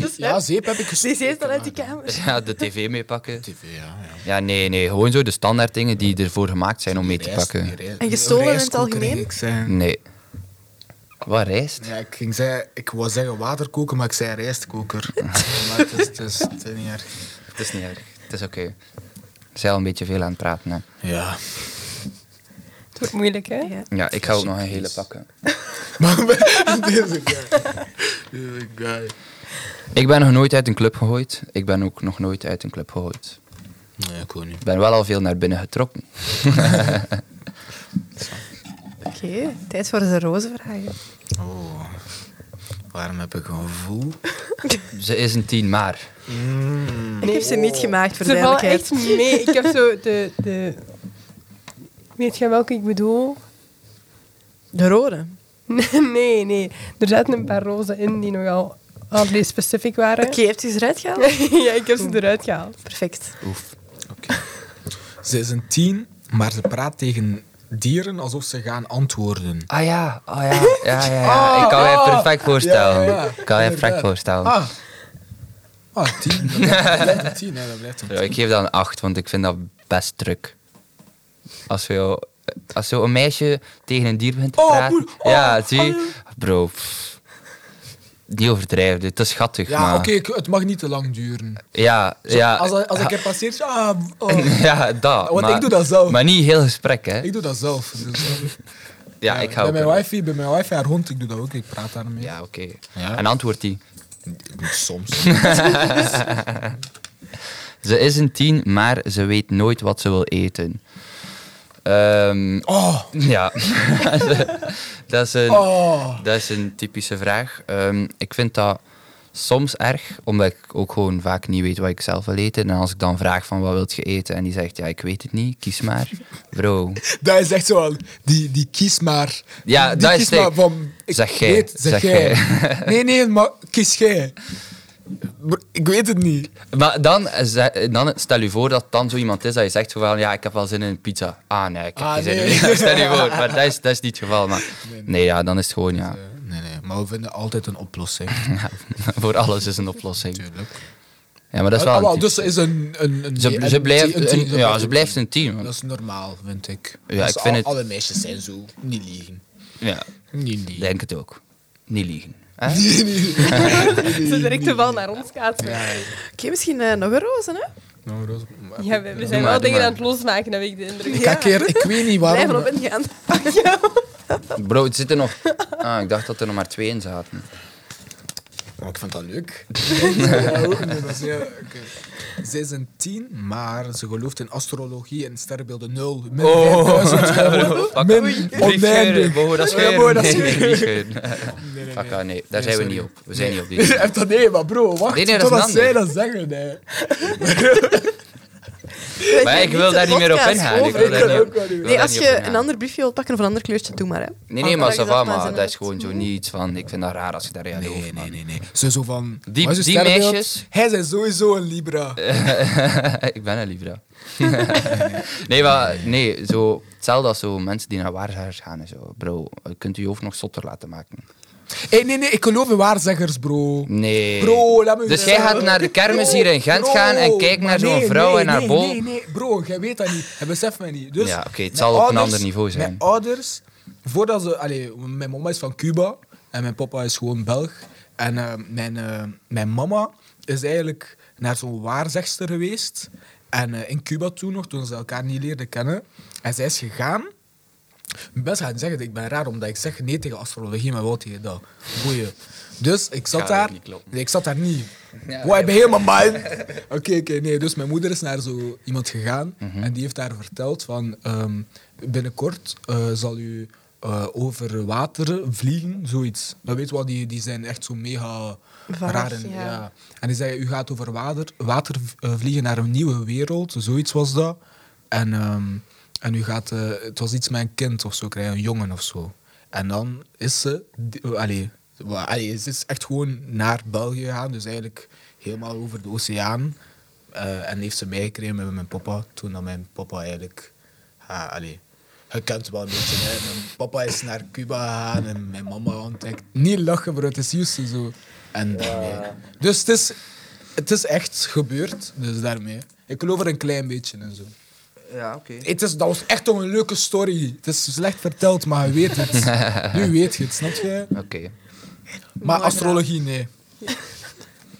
Speaker 5: Ja, zeep heb ik
Speaker 2: Die
Speaker 5: gestolen.
Speaker 2: zit al uit die kamer.
Speaker 3: Ja, de tv meepakken.
Speaker 5: TV, ja. ja.
Speaker 3: Ja, nee, nee. Gewoon zo de standaard dingen die ervoor gemaakt zijn om mee te
Speaker 5: Rijst-
Speaker 3: pakken. Mm.
Speaker 5: die rijst-
Speaker 2: En gestolen in het
Speaker 5: rijstkoker,
Speaker 2: algemeen?
Speaker 5: Ik, zei,
Speaker 3: Nee. Wat rijst?
Speaker 5: ja, ik, ging zeggen, ik wou zeggen waterkoker, maar ik zei rijstkoker. maar het is, het is, het is niet erg.
Speaker 3: Het is niet erg. Het is oké. We zijn al een beetje veel aan het praten. Hè.
Speaker 5: Ja.
Speaker 1: Het wordt moeilijk, hè?
Speaker 2: Ja.
Speaker 3: Ja, ik ga ook nog een hele pakken.
Speaker 5: Deze guy. Deze guy.
Speaker 3: Ik ben nog nooit uit een club gegooid. Ik ben ook nog nooit uit een club gegooid.
Speaker 5: Nee, ik ook niet.
Speaker 3: Ik ben wel al veel naar binnen getrokken.
Speaker 2: Oké, tijd voor de rozenvragen.
Speaker 5: Oh. Waarom heb ik een gevoel?
Speaker 3: Ze is een tien, maar...
Speaker 2: Ik heb ze niet gemaakt, voor de
Speaker 1: Ze vallen
Speaker 2: duidelijkheid.
Speaker 1: echt mee. Ik heb zo de, de... Weet jij welke ik bedoel?
Speaker 2: De rode.
Speaker 1: Nee, nee, nee. Er zaten een paar rozen in die nogal André specifiek waren.
Speaker 2: Oké, heeft u ze eruit gehaald?
Speaker 1: ja, ik heb ze eruit gehaald.
Speaker 2: Perfect.
Speaker 4: Ze is een tien, maar ze praat tegen dieren alsof ze gaan antwoorden.
Speaker 3: Ah ja, ah ja, ja, ja. Oh, ja. ik kan mij perfect voorstellen.
Speaker 4: Ja, ja, ja.
Speaker 3: Ik kan mij perfect
Speaker 4: Inderdaad.
Speaker 3: voorstellen.
Speaker 4: Ah. Ah, tien. Dat blijft een tien, hè. Dat blijft een
Speaker 3: Ja, ik geef dat een 8, want ik vind dat best druk. Als zo, als zo een meisje tegen een dier begint te
Speaker 4: Oh,
Speaker 3: praten.
Speaker 4: boer, oh,
Speaker 3: ja, zie je? Bro, pff. niet overdrijven. Het is schattig,
Speaker 4: Ja,
Speaker 3: maar...
Speaker 4: oké, ik- het mag niet te lang duren.
Speaker 3: Ja,
Speaker 4: Zo,
Speaker 3: ja.
Speaker 4: Als, dat- als ik
Speaker 3: ja,
Speaker 4: heb passeert, ja... oh.
Speaker 3: ja, dat.
Speaker 4: Want
Speaker 3: maar,
Speaker 4: ik doe dat zelf.
Speaker 3: Maar niet heel gesprek, hè.
Speaker 4: Ik doe dat zelf. Dus, eh,
Speaker 3: ja, ik ga
Speaker 4: bij,
Speaker 3: ook...
Speaker 4: mijn wifi, bij mijn wifi, haar hond, ik doe dat ook. Ik praat daarmee.
Speaker 3: Ja, oké.
Speaker 5: Ja.
Speaker 3: En antwoordt die.
Speaker 5: Soms.
Speaker 3: Ze is een tien, maar ze weet nooit wat ze wil eten. Ehm,
Speaker 4: Oh,
Speaker 3: ja. dat, is een,
Speaker 4: oh.
Speaker 3: dat is een typische vraag. Ehm, ik vind dat soms erg, omdat ik ook gewoon vaak niet weet wat ik zelf wil eten. En als ik dan vraag van wat wilt je eten en die zegt ja, ik weet het niet, kies maar. Bro,
Speaker 4: Dat is echt zo al, die, die kies maar.
Speaker 3: Ja,
Speaker 4: die
Speaker 3: dat is
Speaker 4: kies
Speaker 3: het.
Speaker 4: maar van, ik
Speaker 3: Zeg jij,
Speaker 4: weet, zeg,
Speaker 3: zeg
Speaker 4: jij. Nee, nee, maar kies jij. Br- Ik weet het niet.
Speaker 3: Maar dan, ze- dan stel je voor dat het dan zo iemand is dat je zegt van ja, ik heb wel zin in een pizza. Ah nee, ik heb
Speaker 4: Ah,
Speaker 3: geen zin in
Speaker 4: nee.
Speaker 3: een pizza. Stel je voor, maar dat is, dat is niet het geval. Maar, nee, ja, dan is het gewoon ja.
Speaker 5: Eh, Nee, nee, maar we vinden altijd een oplossing.
Speaker 3: Voor alles is een oplossing.
Speaker 5: Natuurlijk.
Speaker 3: Ja, maar dat is wel.
Speaker 4: eh, Ah, wel,
Speaker 3: een
Speaker 4: dus
Speaker 3: type.
Speaker 4: ze is een... een, een
Speaker 3: ze,
Speaker 4: een-
Speaker 3: ze, blijft,
Speaker 4: een-
Speaker 3: een,
Speaker 4: een-
Speaker 3: ja, ze blijft een team.
Speaker 5: Dat is normaal, vind ik.
Speaker 3: Ja,
Speaker 5: Dat
Speaker 3: ik
Speaker 5: is al-
Speaker 3: vind het-
Speaker 5: Alle meisjes zijn zo. Niet liegen.
Speaker 3: Ja,
Speaker 5: Niet liegen.
Speaker 3: denk het ook. Niet liegen. Hè?
Speaker 1: Ze direct de bal naar ons kaatsen. Ja,
Speaker 2: Oké, misschien eh, nog een roze, hè?
Speaker 4: Nou, Roos,
Speaker 1: we, we
Speaker 3: Doe
Speaker 1: zijn
Speaker 3: maar,
Speaker 1: wel
Speaker 3: doe
Speaker 1: dingen
Speaker 3: maar.
Speaker 1: aan het losmaken, heb ik de indruk.
Speaker 5: Ik, keer, ik weet niet
Speaker 2: Blijf
Speaker 5: waarom.
Speaker 2: erop ingaan.
Speaker 3: Bro, het zitten nog. Ah, ik dacht dat er nog maar twee in zaten.
Speaker 5: Maar ik vind dat leuk.
Speaker 4: ja, ook niet, dat is- ja, oké. Ze is een tien, maar ze gelooft in astrologie en sterrenbeelden nul. Min
Speaker 3: Oh.
Speaker 4: 5000 euro. Min oneindig.
Speaker 3: Mogen we dat
Speaker 4: Ja,
Speaker 3: scheuren?
Speaker 4: mogen we dat
Speaker 3: Nee,
Speaker 4: scheuren?
Speaker 3: nee, niet scheuren. Fuck, ah, nee, daar zijn we
Speaker 4: sorry.
Speaker 3: niet op. We zijn niet op
Speaker 4: Je
Speaker 3: die.
Speaker 4: hebt dat nee, maar bro, wacht
Speaker 3: Nee, nee, dat is
Speaker 4: totdat
Speaker 3: een
Speaker 4: zij
Speaker 3: ander.
Speaker 4: dat zeggen. Hè.
Speaker 3: Maar ik wil daar niet meer op ingaan. Ik wil
Speaker 4: Ik
Speaker 3: daar niet
Speaker 4: wil
Speaker 3: op-
Speaker 4: ook wel niet.
Speaker 3: ik wil
Speaker 2: Nee,
Speaker 3: daar
Speaker 2: als
Speaker 3: niet op
Speaker 2: je
Speaker 3: ingaan.
Speaker 2: een ander briefje wilt pakken of een ander kleurtje, doe maar, hè.
Speaker 3: Nee, nee, maar
Speaker 2: Dan
Speaker 3: ça
Speaker 2: je
Speaker 3: va,
Speaker 2: maar
Speaker 3: maar
Speaker 2: zin
Speaker 3: dat
Speaker 2: hebt.
Speaker 3: is gewoon zo niet iets van... Ik vind dat raar als je daar aan
Speaker 5: Nee,
Speaker 3: hoofd
Speaker 5: nee,
Speaker 3: man.
Speaker 5: nee, nee.
Speaker 4: Ze zo van...
Speaker 3: Die-
Speaker 4: wat is je
Speaker 3: die
Speaker 4: sterrenbeeld?
Speaker 3: meisjes- Eh.
Speaker 4: Hij zijn sowieso een Libra.
Speaker 3: Ik ben een Libra. nee, maar nee, zo, hetzelfde als zo mensen die naar waarzeggers gaan en zo. Bro, kunt u je hoofd nog zotter laten maken?
Speaker 4: Hey, nee, nee, ik geloof in waarzeggers, bro.
Speaker 3: Nee.
Speaker 4: Bro, laat me
Speaker 3: dus jij
Speaker 4: zeggen.
Speaker 3: gaat naar de kermis hier in Gent
Speaker 4: Bro,
Speaker 3: gaan en kijkt
Speaker 4: maar
Speaker 3: naar zo'n
Speaker 4: nee,
Speaker 3: vrouw
Speaker 4: nee,
Speaker 3: en haar
Speaker 4: nee,
Speaker 3: bol.
Speaker 4: Nee, nee, bro, jij weet dat niet. Hij beseft mij niet. Dus
Speaker 3: Ja, oké, het
Speaker 4: mijn
Speaker 3: zal op een
Speaker 4: ouders-
Speaker 3: ander niveau zijn.
Speaker 4: Mijn ouders, voordat ze... Allee, mijn mama is van Cuba en mijn papa is gewoon Belg. En eh, mijn, eh, mijn mama is eigenlijk naar zo'n waarzegster geweest. En eh, in Cuba toen nog, toen ze elkaar niet leerden kennen. En zij is gegaan. Best gaan zeggen, ik ben raar omdat ik zeg nee tegen astrologie, maar wel tegen dat. Boeien. Dus ik zat
Speaker 3: Gaat ook
Speaker 4: daar.
Speaker 3: niet kloppen.
Speaker 4: Nee, ik zat daar niet. Wow, ik ben helemaal mind. Oké, oké, nee. Dus mijn moeder is naar zo iemand gegaan
Speaker 3: Mhm.
Speaker 4: en die heeft haar verteld van ehm, binnenkort eh, zal u eh, over water vliegen, zoiets. Maar weet je wat, die, die zijn echt zo mega
Speaker 2: Vaag,
Speaker 4: raar. En,
Speaker 2: ja.
Speaker 4: ja. en die zeggen, u gaat over water, water eh, vliegen naar een nieuwe wereld, zoiets was dat. En, ehm, en u gaat, eh, het was iets met een kind of zo, krijgen, een jongen of zo. En dan is ze, di- eh, allee, wa- allee, ze is echt gewoon naar België gegaan, dus eigenlijk helemaal over de oceaan. Eh, en heeft ze meegekregen met mijn papa, toen dat mijn papa eigenlijk, ja, allee, je kent wel een beetje, hè. mijn papa is naar Cuba gegaan en mijn mama ontdekt. Niet lachen, bro, het is juist zo. En daarmee. Dus het is, het is echt gebeurd, dus daarmee. Ik geloof er een klein beetje in zo.
Speaker 3: Ja, oké.
Speaker 4: Het is, dat was echt toch een leuke story. Het is slecht verteld, maar je weet het. Nu weet je het, snap je?
Speaker 3: Oké.
Speaker 4: Maar astrologie, nee.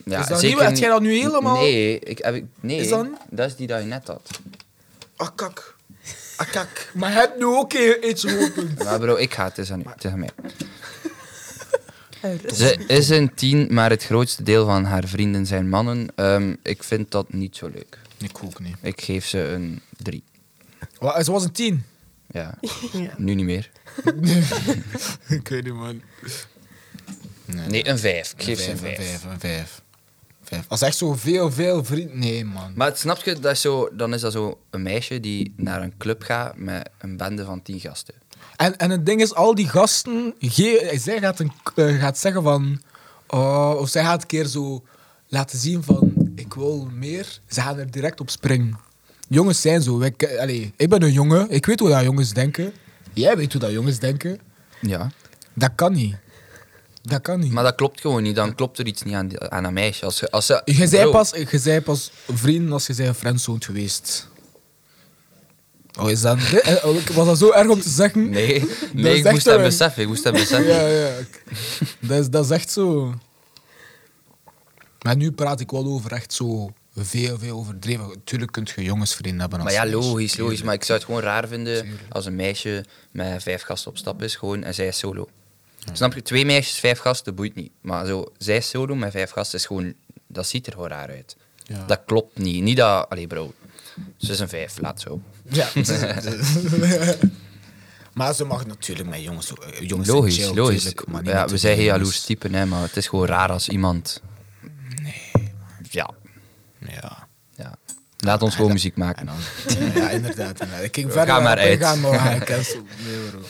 Speaker 3: Ja,
Speaker 4: Is dat
Speaker 3: zeker
Speaker 4: nieuw? Had jij dat nu helemaal-
Speaker 3: Nee, ik, heb ik, nee
Speaker 4: Is dat niet?
Speaker 3: dat is die dat je net had.
Speaker 4: Ah, kak. Ah, kak. Maar heb nu ook een- iets geopend.
Speaker 3: Maar bro, ik ga het, het is aan, u, het is aan mij. Ze is een tien, maar het grootste deel van haar vrienden zijn mannen. Ehm, ik vind dat niet zo leuk.
Speaker 5: Ik ook niet.
Speaker 3: Ik geef ze een drie.
Speaker 4: Wa- Ze was een tien.
Speaker 3: Ja,
Speaker 2: Ja.
Speaker 3: nu niet meer.
Speaker 4: Ik weet niet, man.
Speaker 3: Nee, een vijf. Ik geef ze een
Speaker 5: vijf, een
Speaker 3: vijf.
Speaker 5: vijf, een vijf. Vijf.
Speaker 4: Als echt zo veel, veel vrienden... Nee, man.
Speaker 3: Maar het snap je, dat is zo, dan is dat zo een meisje die naar een club gaat met een bende van tien gasten.
Speaker 4: En, en het ding is, al die gasten, ge- zij gaat, een, eh, gaat zeggen van. oh, of zij gaat een keer zo laten zien van: ik wil meer. Ze gaan er direct op springen. Jongens zijn zo. wij ke- allee, ik ben een jongen, ik weet hoe dat jongens denken. Jij weet hoe dat jongens denken.
Speaker 3: Ja.
Speaker 4: Dat kan niet. Dat kan niet.
Speaker 3: Maar dat klopt gewoon niet. Dan klopt er iets niet aan, die- aan een meisje. Als ze, als ze,
Speaker 4: je, zei
Speaker 3: Bro,
Speaker 4: pas, je zei pas vrienden als je zei friendzone geweest. Oh, is dat... eh, eh, Was dat zo erg om te zeggen?
Speaker 3: Nee,
Speaker 4: is
Speaker 3: nee ik
Speaker 4: echt
Speaker 3: moest dat
Speaker 4: een-
Speaker 3: beseffen. Ik moest dat beseffen.
Speaker 4: Ja, ja. Dat is, dat is echt zo. Maar nu praat ik wel over echt zo veel, veel overdreven. Tuurlijk kun je jongensvrienden hebben.
Speaker 3: Maar
Speaker 4: Als
Speaker 3: ja,
Speaker 4: meisje,
Speaker 3: logisch, logisch.
Speaker 4: tuurlijk.
Speaker 3: Maar ik zou het gewoon raar vinden
Speaker 4: Tuurlijk.
Speaker 3: als een meisje met vijf gasten op stap is gewoon, en zij is solo. Snap je? Twee meisjes, vijf gasten, boeit niet. Maar zo, zij is solo met vijf gasten is gewoon... Dat ziet er gewoon raar uit.
Speaker 4: Ja.
Speaker 3: Dat klopt niet. Niet dat... Allee, bro. Ze is een vijf, laat zo.
Speaker 4: Ja. maar ze mag natuurlijk met jongens... eh, jongens zijn
Speaker 3: Logisch,
Speaker 4: chill,
Speaker 3: logisch.
Speaker 4: tuurlijk, maar niet
Speaker 3: ja,
Speaker 4: met
Speaker 3: we
Speaker 4: de
Speaker 3: zijn geen
Speaker 4: jongens.
Speaker 3: jaloers typen, hè, maar het is gewoon raar als iemand... Nee, Ja.
Speaker 4: Ja.
Speaker 3: ja. Laat ons gewoon muziek maken.
Speaker 4: En dan- ja, inderdaad. inderdaad. Ik ging
Speaker 3: We
Speaker 4: verder.
Speaker 3: gaan maar
Speaker 4: op, ik
Speaker 3: uit.
Speaker 4: ga maar uit. Cancel. Nee, bro.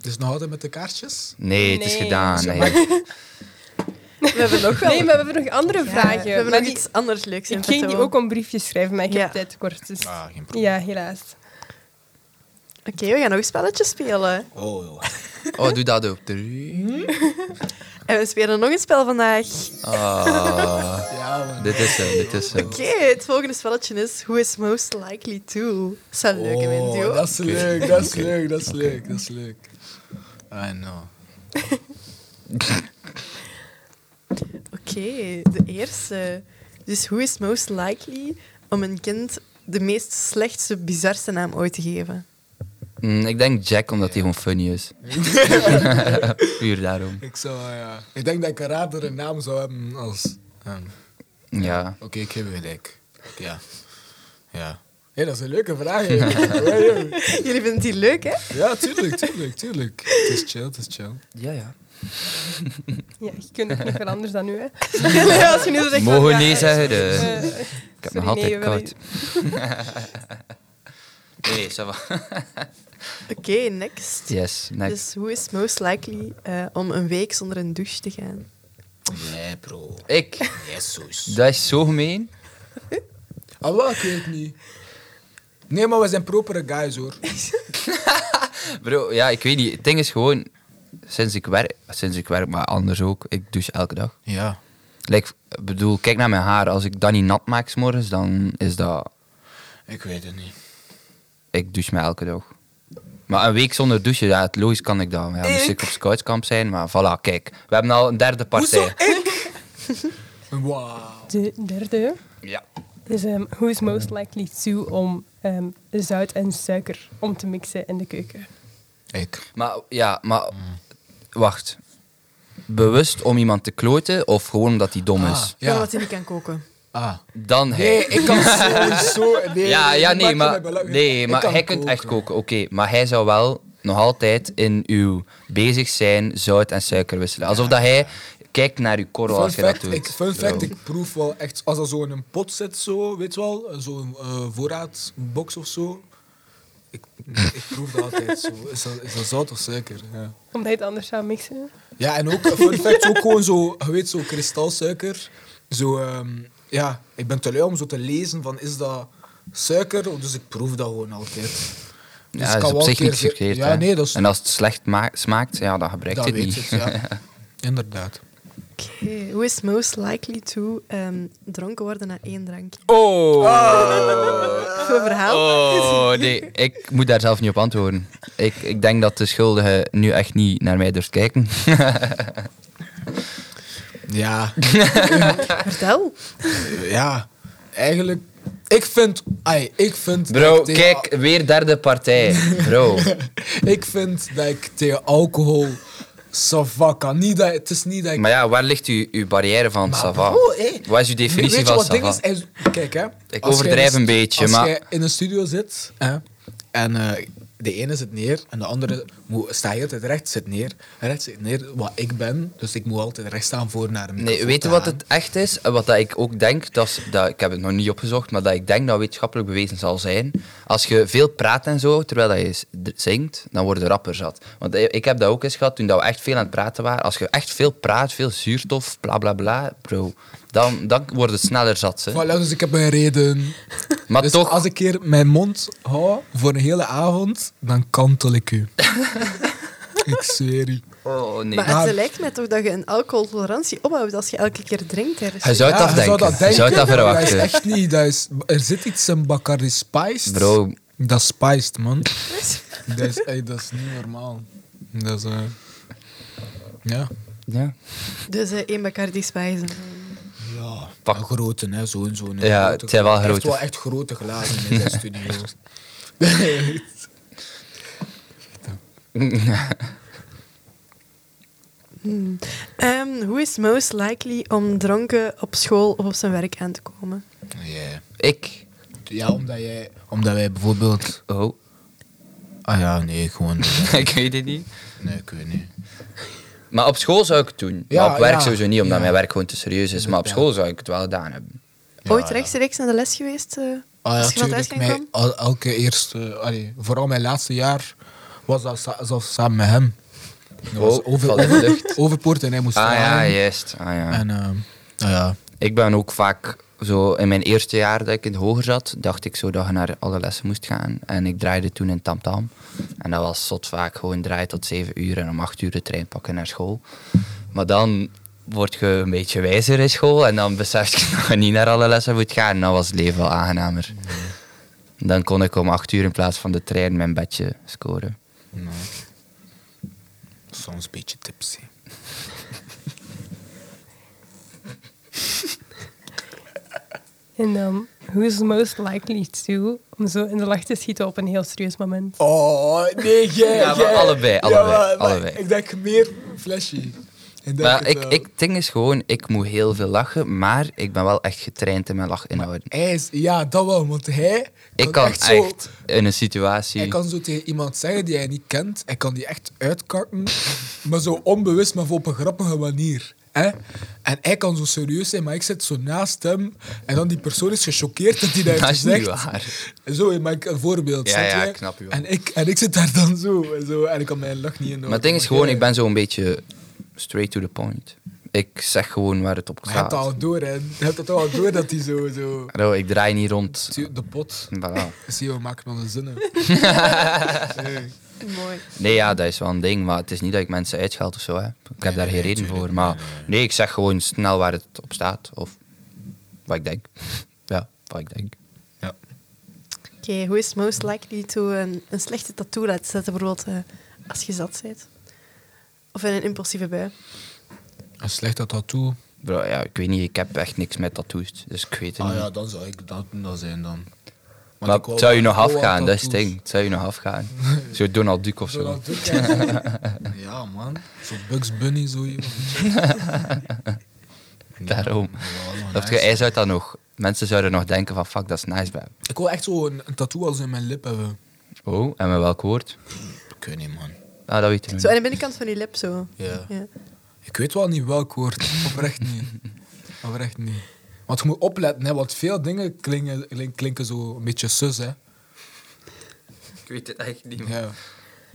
Speaker 4: Dus nog altijd met de kaartjes?
Speaker 3: Nee, het is
Speaker 1: Nee.
Speaker 3: gedaan. Nee.
Speaker 2: We hebben nog wel...
Speaker 1: Nee, maar we hebben nog andere
Speaker 2: Ja,
Speaker 1: vragen.
Speaker 2: We hebben
Speaker 1: Maar
Speaker 2: nog
Speaker 1: die-
Speaker 2: iets anders leuks in
Speaker 1: ik ging die
Speaker 2: petto.
Speaker 1: ook om briefjes schrijven, maar ik
Speaker 2: Ja.
Speaker 1: heb tijd kort. Dus.
Speaker 4: Ah, geen probleem.
Speaker 1: Ja, helaas.
Speaker 2: Oké, we gaan nog een spelletje spelen.
Speaker 4: Oh, joh.
Speaker 3: Oh, doe dat op drie.
Speaker 4: Hm?
Speaker 2: En we spelen nog een spel vandaag.
Speaker 3: Ah.
Speaker 4: Ja, man.
Speaker 3: Dit is hem, dit is hem.
Speaker 2: Oké, het volgende spelletje is Who is most likely to? Dat is een leuke wind,
Speaker 4: Oh,
Speaker 2: joh.
Speaker 4: dat is leuk, dat is leuk, dat is leuk, dat is leuk. I know.
Speaker 2: Oké, de eerste. Dus who is most likely om een kind de meest slechtste, bizarste naam ooit te geven?
Speaker 3: Mm, ik denk Jack, omdat hij gewoon funny is. Puur daarom.
Speaker 4: Ik zou, eh, ja. Ik denk dat ik een raardere naam zou hebben als... ehm,
Speaker 3: Ja.
Speaker 4: Oké, ik geef u gelijk. Ja. Ja. Hé, dat is een leuke vraag. hè. Ja, joh.
Speaker 2: Jullie vinden die leuk, hè?
Speaker 4: ja, tuurlijk, tuurlijk, tuurlijk. Het is chill, het is chill.
Speaker 3: Ja, ja.
Speaker 1: Ja, je kunt ook nog wel anders dan nu, hè. Nee, als je nu zo zegt van,
Speaker 3: Mogen
Speaker 1: ja,
Speaker 3: nee
Speaker 1: eh,
Speaker 3: zeggen. de-
Speaker 1: eh,
Speaker 3: ik heb
Speaker 1: sorry,
Speaker 3: nog altijd
Speaker 1: nee, we
Speaker 3: koud. nee, ça va.
Speaker 2: Oké, next.
Speaker 3: Yes, next.
Speaker 2: Dus who is most likely eh, om een week zonder een douche te gaan?
Speaker 4: Nee, bro.
Speaker 3: Ik.
Speaker 4: Jezus.
Speaker 3: Dat is zo gemeen.
Speaker 4: Allah, ik weet niet. Nee, maar we zijn propere guys, hoor.
Speaker 3: Bro, ja, ik weet niet. Het ding is gewoon... Sinds ik werk... Sinds ik werk, maar anders ook. Ik douche elke dag.
Speaker 4: Ja.
Speaker 3: Like, bedoel, kijk naar mijn haar. Als ik dat niet nat maak 's morgens, dan is dat...
Speaker 4: Ik weet het niet.
Speaker 3: ik douche me elke dag. Maar een week zonder douchen, ja, het logisch kan ik dan. Ja, moest ik op scoutskamp zijn, maar voilà, kijk. We hebben al een derde partij.
Speaker 4: Wauw.
Speaker 1: De derde
Speaker 3: Ja.
Speaker 1: is ehm, who is most likely to om ehm, zout en suiker om te mixen in de keuken.
Speaker 4: Ik.
Speaker 3: Maar, ja, maar... Wacht. Bewust om iemand te kloten of gewoon omdat hij dom
Speaker 4: Ah,
Speaker 3: is?
Speaker 2: Ja.
Speaker 4: ja.
Speaker 2: Omdat hij niet kan koken.
Speaker 4: Ah.
Speaker 3: Dan hij.
Speaker 4: Nee, ik kan sowieso... Nee,
Speaker 3: ja, ja,
Speaker 4: dat
Speaker 3: nee,
Speaker 4: maakt me
Speaker 3: maar,
Speaker 4: belachelijk.
Speaker 3: nee,
Speaker 4: Ik
Speaker 3: maar
Speaker 4: kan
Speaker 3: hij kunt echt koken. Oké, maar hij zou wel nog altijd in uw bezig zijn zout en suiker wisselen. Alsof dat hij kijkt naar uw korrel
Speaker 4: Fun
Speaker 3: als je dat
Speaker 4: fact,
Speaker 3: doet.
Speaker 4: ik, fun fact,
Speaker 3: Zo.
Speaker 4: ik proef wel echt, als dat zo in een pot zit, zo, weet je wel, zo'n eh, voorraadbox of zo. Ik, ik proef dat altijd zo. Is dat, is dat zout of suiker? Ja.
Speaker 1: Omdat je het anders zou mixen.
Speaker 4: ja, en ook, eh, fun fact, ook gewoon zo, je weet, zo kristalsuiker. Zo, ehm, ja, ik ben te lui om zo te lezen van, is dat suiker? Dus ik proef dat gewoon altijd. Dus
Speaker 3: Ja, dat
Speaker 4: ik kan
Speaker 3: is op
Speaker 4: wel
Speaker 3: zich
Speaker 4: een
Speaker 3: niks
Speaker 4: keer-
Speaker 3: verkeerd.
Speaker 4: Ja,
Speaker 3: hè.
Speaker 4: nee, dat is...
Speaker 3: En als het slecht ma- smaakt, ja, dan gebruikt
Speaker 4: dat
Speaker 3: het
Speaker 4: weet
Speaker 3: niet.
Speaker 4: het, ja. Inderdaad.
Speaker 2: Oké, who is most likely to ehm, dronken worden na één drankje?
Speaker 3: Oh.
Speaker 2: Voor verhaal?
Speaker 3: oh, nee, ik moet daar zelf niet op antwoorden. Ik, ik denk dat de schuldige nu echt niet naar mij durft kijken.
Speaker 4: Ja.
Speaker 2: Vertel.
Speaker 4: Ja, eigenlijk. Ik vind. Ai, ik vind.
Speaker 3: Bro,
Speaker 4: dat ik tegen-
Speaker 3: kijk, weer derde partij. Bro.
Speaker 4: Ik vind dat ik tegen alcohol. Sava kan. Niet dat, het is niet dat ik.
Speaker 3: Maar ja, waar ligt u, uw barrière van
Speaker 4: Maar
Speaker 3: Sava?
Speaker 4: bro, hé.
Speaker 3: Wat is uw definitie
Speaker 4: Weet je
Speaker 3: van
Speaker 4: wat ding
Speaker 3: Sava?
Speaker 4: is? Hij is- Kijk,
Speaker 3: Ik
Speaker 4: hè. Als jij
Speaker 3: overdrijf
Speaker 4: in
Speaker 3: een
Speaker 4: stu-
Speaker 3: beetje,
Speaker 4: als
Speaker 3: maar-
Speaker 4: jij in een studio zit hè, en eh, de ene zit neer en de andere moet, sta heel de tijd recht, zit neer. Rechts zit neer wat ik ben, dus ik moet altijd recht staan voor naar hem.
Speaker 3: Nee, weet je wat het echt is? En Wat dat ik ook denk, dat is, dat, ik heb het nog niet opgezocht, maar dat ik denk dat wetenschappelijk bewezen zal zijn. Als je veel praat en zo, terwijl dat je s- d- zingt, dan word je rapper zat. Want i- ik heb dat ook eens gehad toen dat we echt veel aan het praten waren. Als je echt veel praat, veel zuurstof, bla bla bla, bro, dan, dan word je sneller zat. hè.
Speaker 4: Voilà, dus ik heb een reden.
Speaker 3: Maar
Speaker 4: dus
Speaker 3: toch,
Speaker 4: als ik hier mijn mond hou voor een hele avond, dan kantel ik u. ik zweer u.
Speaker 3: oh nee.
Speaker 2: Maar
Speaker 4: Maar-
Speaker 2: het lijkt mij toch dat je een alcoholtolerantie opbouwt als je elke keer drinkt. Hè,
Speaker 3: Hij zou het
Speaker 4: Ja, je
Speaker 3: afdenken.
Speaker 4: dat
Speaker 3: Hij zou het
Speaker 4: denken, maar
Speaker 3: afwachten.
Speaker 4: Dat is echt niet. Dat is, er zit iets in Bacardi Spiced.
Speaker 3: Bro.
Speaker 4: Dat is spiced, man. dat, is, ey, dat is niet normaal. Dat is... eh, ja.
Speaker 3: Ja.
Speaker 2: Dus eh één Bacardi Spijzen.
Speaker 5: Ja,
Speaker 3: Pak-
Speaker 5: een grote, hè, zo'n zo'n.
Speaker 3: Ja,
Speaker 5: grote
Speaker 3: het zijn wel
Speaker 5: glas. Hij heeft
Speaker 3: grote.
Speaker 5: wel echt grote glazen in zijn studio.
Speaker 2: Ehm, hoe is most likely om dronken op school of op zijn werk aan te komen?
Speaker 5: Ja.
Speaker 3: Ik?
Speaker 5: Ja, omdat, jij, omdat wij bijvoorbeeld...
Speaker 3: Oh,
Speaker 5: Ah ja, nee, gewoon...
Speaker 3: ik weet het niet.
Speaker 5: Nee, ik weet niet.
Speaker 3: Maar op school zou ik het doen.
Speaker 5: Ja,
Speaker 3: maar op werk
Speaker 5: ja.
Speaker 3: sowieso niet, omdat
Speaker 5: Ja.
Speaker 3: mijn werk gewoon te serieus is. Maar op school zou ik het wel gedaan hebben.
Speaker 2: Ooit
Speaker 5: ja.
Speaker 2: rechtstreeks naar de les geweest? eh,
Speaker 5: Ah ja,
Speaker 2: als je van thuis
Speaker 5: tuurlijk. Mijn,
Speaker 2: kwam?
Speaker 5: al- elke eerste... Allee, vooral mijn laatste jaar was dat sa- zelfs samen met hem. Dat was
Speaker 3: Oh, valt in de lucht.
Speaker 5: Overpoort en hij moest
Speaker 3: Ah ja,
Speaker 5: halen.
Speaker 3: juist. Ah, ja.
Speaker 5: En ehm, nou ja,
Speaker 3: Ik ben ook vaak zo in mijn eerste jaar dat ik in het hoger zat, dacht ik zo dat je naar alle lessen moest gaan. En ik draaide toen in tamtam. En dat was zot vaak gewoon draaien tot zeven uur en om acht uur de trein pakken naar school. Maar dan word je een beetje wijzer in school en dan besef je dat je niet naar alle lessen moet gaan. En dan was het leven wel aangenamer. Dan kon ik om acht uur in plaats van de trein mijn bedje scoren.
Speaker 5: nou, soms een beetje tipsy.
Speaker 1: En dan, who is most likely to om zo in de lach te schieten op een heel serieus moment?
Speaker 4: Oh, nee, jij.
Speaker 3: Ja, maar
Speaker 4: jij.
Speaker 3: allebei, allebei,
Speaker 4: maar- maar
Speaker 3: allebei.
Speaker 4: Ik denk meer flashy. Ik denk
Speaker 3: Maar
Speaker 4: het
Speaker 3: ik,
Speaker 4: wel.
Speaker 3: ik het ding is gewoon, ik moet heel veel lachen, maar ik ben wel echt getraind in mijn lachinhouden.
Speaker 4: Hij is, ja, dat wel, want hij
Speaker 3: Ik kan echt,
Speaker 4: zo,
Speaker 3: in een
Speaker 4: Hij
Speaker 3: situatie.
Speaker 4: kan zo tegen iemand zeggen die hij niet kent. Hij kan die echt uitkakken, maar zo onbewust, maar op een grappige manier. Hè? En hij kan zo serieus zijn, maar ik zit zo naast hem. En dan die persoon is gechoqueerd dat hij dat
Speaker 3: Dat
Speaker 4: heeft
Speaker 3: is niet
Speaker 4: gezegd.
Speaker 3: waar.
Speaker 4: Zo, maar ik een voorbeeld.
Speaker 3: Ja,
Speaker 4: snap
Speaker 3: ja,
Speaker 4: je?
Speaker 3: ik snap je wel.
Speaker 4: En ik, en ik zit daar dan zo. En, zo, en ik kan mijn lach niet in
Speaker 3: Maar het ding is gewoon, ik ben zo'n beetje straight to the point. Ik zeg gewoon waar het op
Speaker 4: Je hebt dat
Speaker 3: staat.
Speaker 4: al door, hè. Je hebt het al door dat hij zo... zo
Speaker 3: Bro, ik draai niet rond.
Speaker 4: Zie je, de pot.
Speaker 3: Voilà.
Speaker 4: Zie je, we maken onze zinnen. Nee.
Speaker 2: Mooi.
Speaker 3: Nee, ja, dat is wel een ding. Maar het is niet dat ik mensen uitscheld of zo. Hè. Ik heb daar geen reden voor. Maar nee, ik zeg gewoon snel waar het op staat. Of wat ik denk. Ja, wat ik denk.
Speaker 5: Ja.
Speaker 2: Oké, hoe is most likely to een, een slechte tattoo laten zetten, bijvoorbeeld eh, als je zat bent? Of in een impulsieve bui?
Speaker 5: Een slechte tattoo.
Speaker 3: Bro, ja, ik weet niet, ik heb echt niks met tattoos. Dus ik weet het
Speaker 5: Ah
Speaker 3: niet.
Speaker 5: ja, dan zou ik dat, dat zijn dan. Want
Speaker 3: Maar
Speaker 5: ik wou
Speaker 3: het zou je
Speaker 5: wel-
Speaker 3: nog
Speaker 5: ik wou wel
Speaker 3: afgaan, dat is het
Speaker 5: tattoos.
Speaker 3: ding. Het zou je nog afgaan. Zo Donald Duck of
Speaker 4: Zo
Speaker 3: zo.
Speaker 4: dat doe ik eigenlijk.
Speaker 5: Ja, man. Zo'n Bugs Bunny, zo iemand.
Speaker 3: Daarom.
Speaker 5: Ja,
Speaker 3: Dat
Speaker 5: nice.
Speaker 3: hij zou dat nog. Mensen zouden nog denken van fuck, dat is nice bij.
Speaker 4: Ik wil echt zo een, een tattoo als in mijn lip hebben.
Speaker 3: Oh, en met welk woord?
Speaker 5: Ik weet niet, man.
Speaker 3: Ah, dat weet je nog
Speaker 2: Zo aan
Speaker 3: niet.
Speaker 2: de binnenkant van je lip, zo.
Speaker 5: Ja.
Speaker 2: Ja.
Speaker 4: Ik weet wel niet welk woord. Oprecht niet. Oprecht niet. Want je moet opletten, hè, want veel dingen klinken, klink- klinken zo een beetje sus, hè.
Speaker 3: Ik weet het echt niet.
Speaker 4: Ja,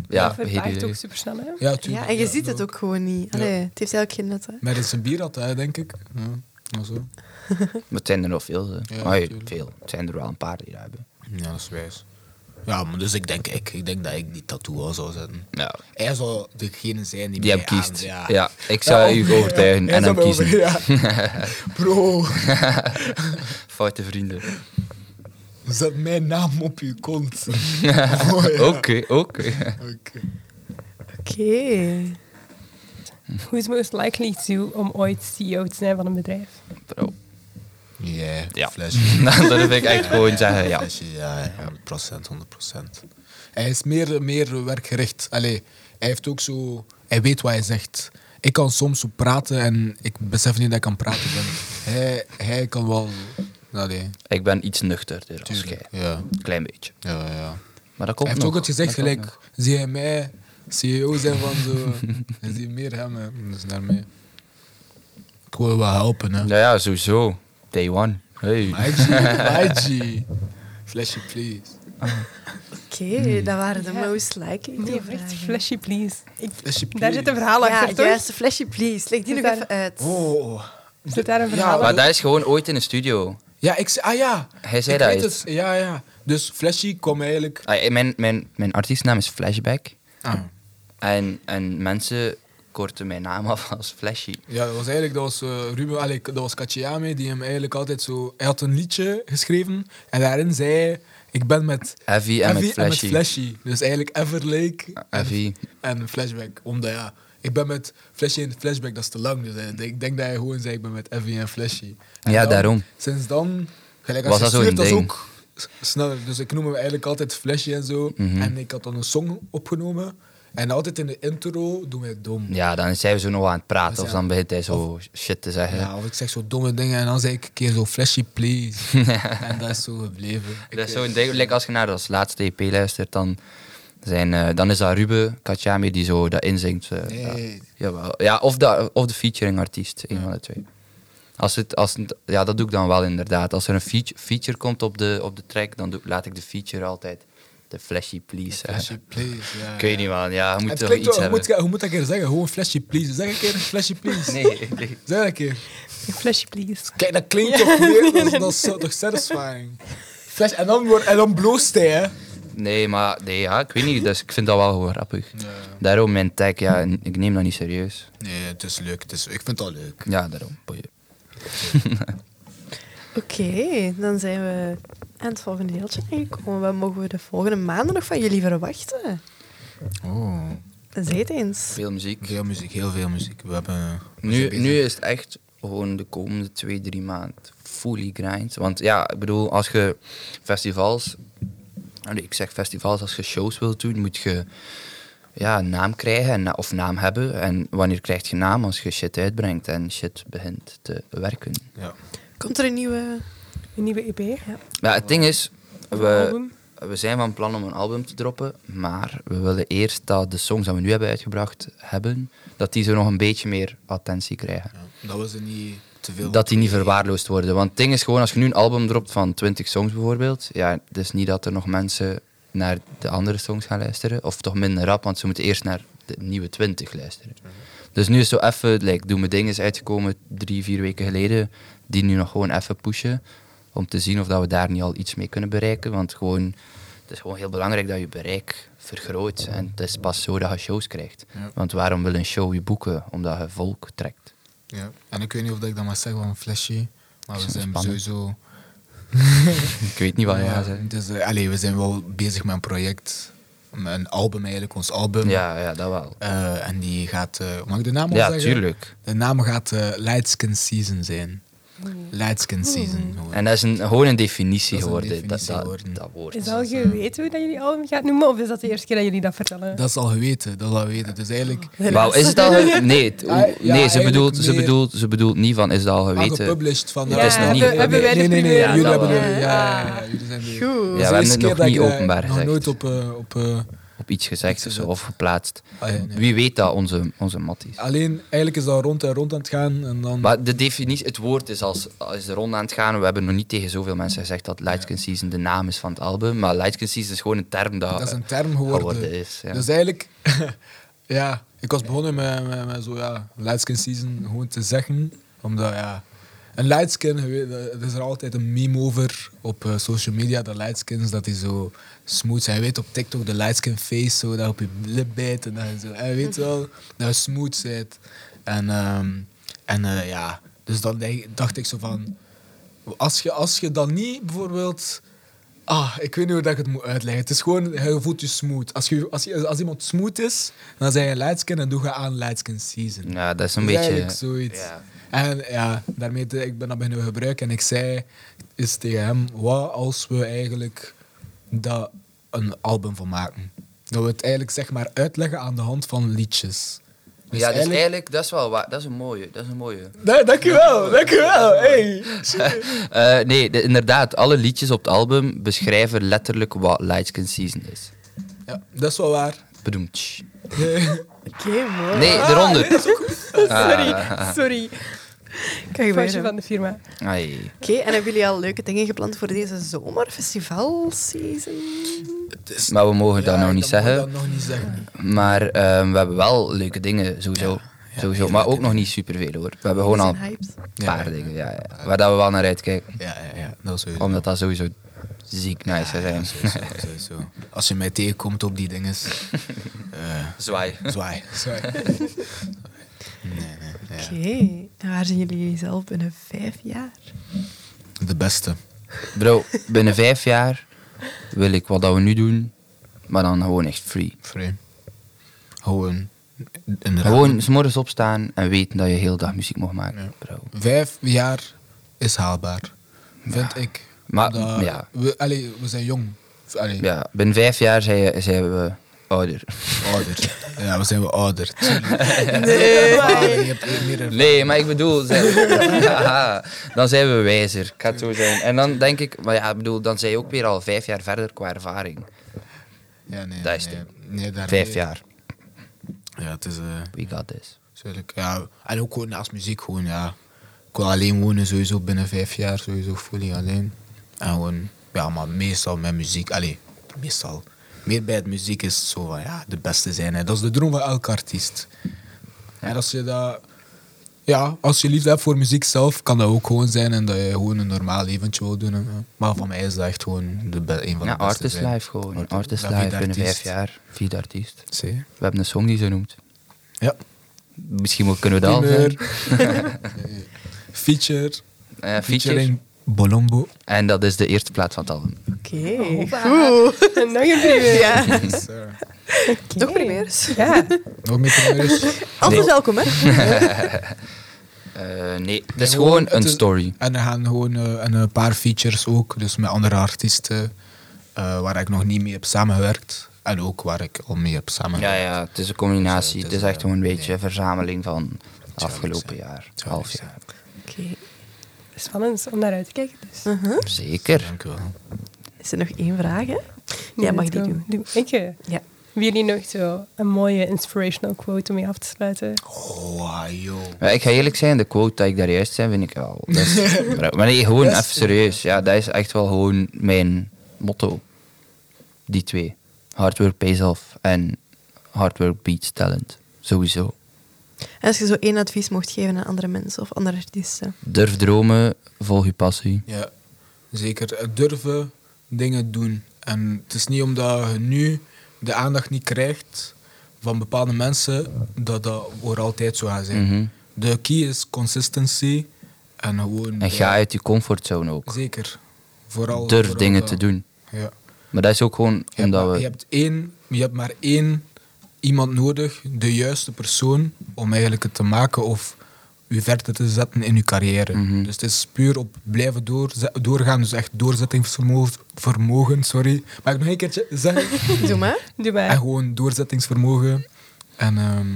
Speaker 3: Ja,
Speaker 1: dat
Speaker 3: geen
Speaker 1: vervaagt
Speaker 3: idee.
Speaker 1: ook super snel, hè?
Speaker 4: ja,
Speaker 2: ja,
Speaker 4: tuurlijk,
Speaker 2: en je ziet het
Speaker 4: zo.
Speaker 2: ook gewoon niet. Allee, het heeft eigenlijk geen nut, hè.
Speaker 4: Met een zijn bier had hij, denk ik. Ja, maar zo.
Speaker 3: Maar het zijn er nog veel. hè.
Speaker 4: Ja,
Speaker 3: Ai,
Speaker 4: natuurlijk.
Speaker 3: veel. Het zijn er wel een paar die dat hebben.
Speaker 5: Ja, dat is wijs. Ja, maar dus ik denk, ik, ik denk dat ik die tattoo al zou zetten.
Speaker 3: Ja.
Speaker 5: Hij zou degene zijn die,
Speaker 3: Die hem
Speaker 5: mij
Speaker 3: kiest.
Speaker 5: aan-
Speaker 3: ja. ik zou u overtuigen
Speaker 4: Hij
Speaker 3: en
Speaker 4: zou
Speaker 3: hem
Speaker 4: mij
Speaker 3: kiezen.
Speaker 4: over- ja. Bro,
Speaker 3: Foute vrienden.
Speaker 4: zet mijn naam op je kont.
Speaker 3: Oké, oké.
Speaker 4: Oké.
Speaker 2: Oké.
Speaker 1: Who is most likely to om ooit CEO te zijn van een bedrijf?
Speaker 3: Bro,
Speaker 5: Ja,
Speaker 3: Ja.
Speaker 5: flesje.
Speaker 3: dat Nou, durf ik echt gewoon zeggen, eh, ja.
Speaker 5: Flesje, ja, 100%, 100%.
Speaker 4: Hij is meer, meer werkgericht. Allee, hij heeft ook zo... Hij weet wat hij zegt. Ik kan soms zo praten en ik besef niet dat ik kan praten ben. Hij, hij kan wel... Allee,
Speaker 3: Ik ben iets nuchterder als jij.
Speaker 5: Tuurlijk. Ja,
Speaker 3: Klein beetje.
Speaker 5: ja, ja.
Speaker 3: Maar dat
Speaker 4: hij
Speaker 3: komt
Speaker 4: heeft
Speaker 3: nog.
Speaker 4: ook het gezegd
Speaker 3: Dat komt
Speaker 4: gelijk.
Speaker 3: nog.
Speaker 4: Zie hij mij CEO zijn van zo... Hij ziet meer hem, hè. Dus naar mij.
Speaker 5: Ik wil wel helpen, hè.
Speaker 3: Nou ja, sowieso. Day one. Hey.
Speaker 4: My G, my G. Flesje, please.
Speaker 2: Oké, dat waren de
Speaker 1: Ja.
Speaker 2: most likely.
Speaker 1: Nee,
Speaker 2: die
Speaker 1: echt
Speaker 2: vragen.
Speaker 1: flashy, please. Ik,
Speaker 4: Flesje, please.
Speaker 1: daar zit een verhaal
Speaker 2: ja,
Speaker 1: achter, toch?
Speaker 2: juiste flesje, please. Leg die
Speaker 1: Zit daar-
Speaker 2: nog even uit.
Speaker 4: Oh.
Speaker 1: Zit daar een verhaal
Speaker 3: Maar
Speaker 1: achter?
Speaker 3: dat is gewoon ooit in de studio.
Speaker 4: Ja, ik... Ah ja.
Speaker 3: Hij zei
Speaker 4: Ik
Speaker 3: dat
Speaker 4: weet
Speaker 3: eens.
Speaker 4: het. Ja, ja. Dus Flesje kwam eigenlijk...
Speaker 3: Ah, eh, mijn, mijn, mijn artiestnaam is Flashback.
Speaker 4: Ah.
Speaker 3: En, en mensen korten mijn naam af als Flashy.
Speaker 4: Ja, dat was eigenlijk dat was, eh, Ruben, allee, dat was Kachiame, die hem eigenlijk altijd zo... Hij had een liedje geschreven en daarin zei hij, ik ben met
Speaker 3: Heavy en
Speaker 4: Heavy
Speaker 3: met Flashy.
Speaker 4: Dus eigenlijk Everlake
Speaker 3: Heavy.
Speaker 4: en Flashback. Omdat ja, ik ben met Flesje in Flashback, dat is te lang. Dus eh, ik denk dat hij gewoon zei, ik ben met Evie en Flesje. En
Speaker 3: Ja,
Speaker 4: dan-
Speaker 3: daarom.
Speaker 4: Sinds dan, gelijk
Speaker 3: Was dat
Speaker 4: als je
Speaker 3: zo'n
Speaker 4: stuurt, dat is
Speaker 3: ding?
Speaker 4: ook s- sneller. Dus ik noem hem eigenlijk altijd Flesje en zo.
Speaker 3: Mhm.
Speaker 4: En ik had dan een song opgenomen. En altijd in de intro doen wij dom.
Speaker 3: Ja, dan zijn we zo nog aan het praten.
Speaker 4: Dus
Speaker 3: of
Speaker 4: ja.
Speaker 3: dan begint hij zo shit te zeggen.
Speaker 4: Ja, of ik zeg zo domme dingen en dan zeg ik een keer zo fleshy please. en dat is zo gebleven. Ik eh,
Speaker 3: Dat is
Speaker 4: weet-
Speaker 3: zo'n ding. like, als je naar als laatste EP luistert, dan, zijn, eh, dan is dat Ruben Kachami die zo dat inzingt. eh,
Speaker 4: Nee,
Speaker 3: ja.
Speaker 4: nee, nee.
Speaker 3: Jawel. Ja, of, dat, of de featuring artiest, een van de twee. Als het, als het- ja, dat doe ik dan wel inderdaad. Als er een feature, feature komt op de, op de track, dan doe, laat ik de feature altijd de flashy please zeggen.
Speaker 4: Fleshy please, ja.
Speaker 3: Ik weet niet man, ja, je moet
Speaker 4: eh, Het
Speaker 3: toch
Speaker 4: klinkt
Speaker 3: iets
Speaker 4: wel, hoe
Speaker 3: hebben.
Speaker 4: moet, ik- hoe moet dat een keer zeggen? Gewoon fleshy please. Zeg een keer fleshy please.
Speaker 3: Nee, nee.
Speaker 4: Zeg dat een keer.
Speaker 1: Flesje, please.
Speaker 4: Kijk, dat klinkt toch weer, dat, is- dat is zo- toch satisfying. Flash, en dan, wordt- en dan bloost hij, hè.
Speaker 3: Nee, maar nee, ja, ik weet niet, dus ik vind dat wel gewoon grappig. Daarom mijn tag, ja, en ik neem dat niet serieus.
Speaker 5: Nee, het is leuk. Het is, ik vind het al leuk.
Speaker 3: Ja, daarom. boeien.
Speaker 2: Oké, dan zijn we aan het volgende deeltje aangekomen. Wat mogen we de volgende maanden nog van jullie verwachten?
Speaker 5: Oh.
Speaker 2: Zeg het eens.
Speaker 3: Veel muziek.
Speaker 5: Veel muziek, heel veel muziek. We hebben... we zijn
Speaker 3: Nu,
Speaker 5: bezig.
Speaker 3: nu is het echt gewoon de komende twee, drie maanden fully grind. Want ja, ik bedoel, als je festivals... allee, ik zeg festivals, als je shows wilt doen, moet je ja, een naam krijgen en, of naam hebben. En wanneer krijg je naam? Als je shit uitbrengt en shit begint te werken.
Speaker 5: Ja.
Speaker 2: Komt er een nieuwe...
Speaker 1: Een nieuwe E EP.
Speaker 3: Maar het ding is,
Speaker 1: Een
Speaker 3: we,
Speaker 1: album.
Speaker 3: we zijn van plan om een album te droppen, maar we willen eerst dat de songs die we nu hebben uitgebracht hebben, dat die zo nog een beetje meer attentie krijgen.
Speaker 5: Ja. Dat was er niet te veel.
Speaker 3: dat die niet verwaarloosd worden. Want het ding is gewoon, als je nu een album dropt van 20 songs bijvoorbeeld, ja, het is niet dat er nog mensen naar de andere songs gaan luisteren. Of toch minder rap, want ze moeten eerst naar de nieuwe 20 luisteren. Dus nu is zo even, like, Doe Mijn Ding is uitgekomen drie, vier weken geleden, die nu nog gewoon even pushen, om te zien of dat we daar niet al iets mee kunnen bereiken. Want gewoon, het is gewoon heel belangrijk dat je bereik vergroot. En het is pas zo dat je shows krijgt.
Speaker 5: Ja.
Speaker 3: Want waarom wil een show je boeken? Omdat je volk trekt.
Speaker 5: Ja. En ik weet niet of dat ik dat mag zeggen van een flesje. Maar we zijn
Speaker 3: Spannend.
Speaker 5: sowieso...
Speaker 3: Ik weet niet wat je gaat zeggen.
Speaker 5: dus, eh, allee, we zijn wel bezig met een project. Met een album eigenlijk, ons album.
Speaker 3: Ja, ja, dat wel.
Speaker 5: Eh, en die gaat... eh, mag ik de naam al
Speaker 3: Ja,
Speaker 5: zeggen?
Speaker 3: tuurlijk.
Speaker 5: De naam gaat eh Lightskin Season zijn. Lightskin Season. gewoon.
Speaker 3: En dat is een, gewoon een definitie
Speaker 5: Dat is een
Speaker 3: geworden, dat-
Speaker 5: definitie
Speaker 3: dat,
Speaker 5: geworden.
Speaker 3: dat, woord.
Speaker 1: Is al geweten hoe dat jullie album gaat noemen? Of is dat de eerste keer dat jullie dat vertellen?
Speaker 5: Dat is al geweten, dat is al geweten. Dus eigenlijk...
Speaker 3: Wauw, is het al... ge- Nee, het-
Speaker 4: Ah,
Speaker 3: hoe-
Speaker 4: ja,
Speaker 3: nee ze,
Speaker 4: eigenlijk
Speaker 3: bedoelt, ze,
Speaker 4: meer-
Speaker 3: bedoelt, ze bedoelt niet van, is dat al
Speaker 4: Maar
Speaker 3: geweten?
Speaker 4: gepublished van...
Speaker 3: Het
Speaker 4: eh,
Speaker 3: is nog niet
Speaker 4: hebben-
Speaker 3: hebben
Speaker 1: wij de
Speaker 4: nee, nee, nee,
Speaker 1: primeur?
Speaker 4: jullie
Speaker 3: Ja,
Speaker 4: hebben
Speaker 3: dat
Speaker 4: de...
Speaker 1: wel.
Speaker 4: Ja, ja, ja, jullie zijn de...
Speaker 2: Goed.
Speaker 3: Ja, we
Speaker 4: Dat is de
Speaker 3: hebben
Speaker 4: eerste
Speaker 3: het
Speaker 4: keer
Speaker 3: nog
Speaker 4: dat
Speaker 3: niet
Speaker 4: ik, eh,
Speaker 3: openbaar
Speaker 4: Nog
Speaker 3: gezegd.
Speaker 4: nooit op... eh, op eh,
Speaker 3: Op iets gezegd of zo, of geplaatst.
Speaker 4: ah, ja, nee.
Speaker 3: Wie weet dat, onze, onze matties.
Speaker 4: Alleen, eigenlijk is dat rond en rond aan het gaan. En dan...
Speaker 3: Maar de definitie, het woord is, als, is er rond aan het gaan. We hebben nog niet tegen zoveel mensen gezegd dat Lightskin Season de naam is van het album. Maar Lightskin Season is gewoon een term dat,
Speaker 4: Dat is
Speaker 3: eh,
Speaker 4: een term geworden.
Speaker 3: geworden is. Ja.
Speaker 4: Dus eigenlijk, ja, ik was begonnen met, met, met zo, ja, lightskin season gewoon te zeggen. Omdat, ja, een lightskin, je weet, er is er altijd een meme over op eh, social media, de lightskins, dat die zo smooth zijn. Je weet op TikTok de lightskin face, zo, dat op je lip bijt en dat je zo, en je weet wel, dat je smooth bent. En, ehm, en eh, ja, dus dan denk- dacht ik zo van, als je, als je dan niet bijvoorbeeld. Ah, ik weet niet hoe dat ik het moet uitleggen. Het is gewoon, je voelt je smooth. Als, je, als, je, als iemand smooth is, dan zijn je lightskin en doe je aan lightskin season.
Speaker 3: ja, dat is een
Speaker 4: Dat is
Speaker 3: beetje...
Speaker 4: eigenlijk zoiets.
Speaker 3: ja.
Speaker 4: En ja, daarmee te- ik ben dat beginnen gebruiken. En ik zei is tegen hem, wat als we eigenlijk daar een album van maken? Dat we het eigenlijk zeg maar uitleggen aan de hand van liedjes. Dus
Speaker 3: ja, dus
Speaker 4: eigenlijk-
Speaker 3: eigenlijk, dat is wel waar. Dat is een mooie, dat is een mooie.
Speaker 4: Nee, dankjewel, dankjewel. Hey.
Speaker 3: Eh, nee, de- inderdaad. Alle liedjes op het album beschrijven letterlijk wat Lightskin Season is.
Speaker 4: Ja, dat is wel waar.
Speaker 3: Bedoemd.
Speaker 2: Oké, mooi.
Speaker 3: Nee, eronder.
Speaker 1: Sorry, sorry.
Speaker 2: Kan
Speaker 1: Foutje
Speaker 2: je weer, hè?
Speaker 1: van de firma.
Speaker 3: Ai.
Speaker 2: Oké, en hebben jullie al leuke dingen gepland voor deze zomer? Festivalseason?
Speaker 5: Het is-
Speaker 3: Maar we mogen dat
Speaker 4: Ja,
Speaker 3: nog niet
Speaker 4: dat moet
Speaker 3: zeggen.
Speaker 4: ik dan nog niet zeggen.
Speaker 3: Maar ehm, we hebben wel leuke dingen, sowieso. sowieso. Maar ook nog niet superveel hoor. We hebben gewoon
Speaker 2: We
Speaker 3: al
Speaker 2: zijn
Speaker 3: een
Speaker 2: hyped.
Speaker 3: paar
Speaker 5: Ja, ja,
Speaker 3: dingen ja, ja. waar dat we wel naar uitkijken.
Speaker 5: Ja, ja, ja, dat is sowieso.
Speaker 3: Omdat dat sowieso ziek nice zou zijn.
Speaker 5: Sowieso, sowieso. Als je mij tegenkomt op die dingen, eh
Speaker 3: Zwaai.
Speaker 5: zwaai.
Speaker 4: Sorry.
Speaker 5: Nee, nee, ja.
Speaker 2: Oké, en waar zien jullie zelf binnen vijf jaar?
Speaker 5: De beste.
Speaker 3: Bro, binnen vijf jaar wil ik wat dat we nu doen, maar dan gewoon echt free.
Speaker 5: Free. Gewoon Inderdaad.
Speaker 3: Gewoon 's morgens opstaan en weten dat je heel dag muziek mag maken.
Speaker 5: Ja.
Speaker 3: Bro.
Speaker 4: Vijf jaar is haalbaar, vind ik.
Speaker 3: Maar,
Speaker 4: Omdat
Speaker 3: ja.
Speaker 4: we, allee, we zijn jong. Allee,
Speaker 3: Ja, binnen vijf jaar zijn, je- zijn we ouder.
Speaker 4: ouder. Ja, we zijn wel ouder. Tuurlijk.
Speaker 2: Nee.
Speaker 4: Vader, je hebt meer ervaring.
Speaker 3: Nee, maar ik bedoel, zijn we- Haha, dan zijn we wijzer. Ik ga het zo zijn. En dan denk ik, maar ja, ik bedoel, dan zijn je ook weer al vijf jaar verder qua ervaring.
Speaker 5: Ja, nee,
Speaker 3: Dat is
Speaker 5: nee,
Speaker 3: het.
Speaker 5: nee, daar-
Speaker 3: Vijf jaar.
Speaker 5: Ja, het is... eh,
Speaker 3: We got this.
Speaker 5: Tuurlijk, ja. En ook gewoon naast muziek, gewoon, ja. Ik wil alleen wonen, sowieso binnen vijf jaar, sowieso fully alleen. En gewoon, ja, maar meestal met muziek, allee, meestal. Meer bij het muziek is het zo van, ja, de beste zijn. Hè.
Speaker 4: Dat is de droom van elke artiest. En als je dat... Ja, als je liefde hebt voor muziek zelf, kan dat ook gewoon zijn en dat je gewoon een normaal eventje wil doen. en, ja.
Speaker 5: Maar voor mij is dat echt gewoon de be- een van
Speaker 3: Ja,
Speaker 5: de beste
Speaker 3: artist
Speaker 5: zijn.
Speaker 3: life gewoon.
Speaker 5: Art-
Speaker 3: Artist
Speaker 5: Ja,
Speaker 3: life
Speaker 5: vierde
Speaker 3: binnen vijf
Speaker 5: artiest.
Speaker 3: jaar. Vierde artiest.
Speaker 5: Zie je?
Speaker 3: We hebben een song die zo noemt.
Speaker 5: Ja.
Speaker 3: Misschien wel kunnen we dat al
Speaker 4: Primeur.
Speaker 3: zijn.
Speaker 4: Feature,
Speaker 3: Eh, feature.
Speaker 4: featuring Bolombo.
Speaker 3: En dat is de eerste plaat van het album.
Speaker 2: Oké. Goed.
Speaker 1: En nog een primeur.
Speaker 2: Ja.
Speaker 3: Hm.
Speaker 1: Oké.
Speaker 2: Nog primeurs.
Speaker 1: Ja.
Speaker 4: eh, Nog meer primeurs.
Speaker 2: Altijd welkom, hè?
Speaker 3: Eh, nee, het is
Speaker 4: En
Speaker 3: gewoon
Speaker 4: het
Speaker 3: een
Speaker 4: is-
Speaker 3: story.
Speaker 4: En er gaan gewoon eh, en een paar features ook, dus met andere artiesten eh, waar ik nog niet mee heb samengewerkt. En ook waar ik al mee heb
Speaker 3: Ja,
Speaker 4: samengewerkt.
Speaker 3: ja, het is een combinatie.
Speaker 5: Dus,
Speaker 3: Het
Speaker 5: het is,
Speaker 3: is echt
Speaker 5: eh,
Speaker 3: gewoon een beetje een verzameling van het
Speaker 5: zou
Speaker 3: afgelopen
Speaker 5: niks
Speaker 3: jaar,
Speaker 5: zou
Speaker 3: half
Speaker 5: niks
Speaker 3: jaar.
Speaker 2: Oké.
Speaker 1: Spannend om naar uit te kijken. Dus.
Speaker 3: Zeker.
Speaker 5: Dank u wel.
Speaker 2: Is er nog één vraag, hè? Jij mag die
Speaker 1: Let's go.
Speaker 2: doen.
Speaker 1: Doe ik. eh.
Speaker 2: Ja.
Speaker 1: Hebben jullie nog zo een mooie inspirational quote om mee af te sluiten?
Speaker 5: Oh,
Speaker 4: ah,
Speaker 5: joh.
Speaker 3: Ja, ik ga eerlijk zijn, de quote dat ik daar juist zei, vind ik wel. Dat is- maar nee, gewoon even serieus. Ja, dat is echt wel gewoon mijn motto. Die twee. Hard work pays off en hard work beats talent. Sowieso.
Speaker 2: En als je zo één advies mocht geven aan andere mensen of andere artiesten.
Speaker 3: Durf dromen, volg je passie.
Speaker 4: Ja, zeker. Eh, Durven dingen doen. En het is niet omdat je nu de aandacht niet krijgt van bepaalde mensen, dat dat voor altijd zo gaat zijn.
Speaker 3: Mhm.
Speaker 4: De key is consistency en gewoon...
Speaker 3: En ga
Speaker 4: ja,
Speaker 3: uit je comfortzone ook.
Speaker 4: Zeker. Vooral,
Speaker 3: Durf
Speaker 4: vooral
Speaker 3: dingen
Speaker 4: dat.
Speaker 3: te doen.
Speaker 4: Ja.
Speaker 3: Maar dat is ook gewoon
Speaker 4: Je, hebt,
Speaker 3: omdat
Speaker 4: maar-
Speaker 3: we...
Speaker 4: je, hebt één, je hebt maar één iemand nodig, de juiste persoon, om eigenlijk het te maken of u verder te zetten in uw carrière.
Speaker 3: Mhm.
Speaker 4: Dus het is puur op blijven doorze- doorgaan, dus echt doorzettingsvermogen, vermogen, sorry. Mag ik nog een keertje zeggen?
Speaker 2: Doe maar.
Speaker 1: Doe
Speaker 4: En
Speaker 1: maar.
Speaker 4: gewoon doorzettingsvermogen. En ehm,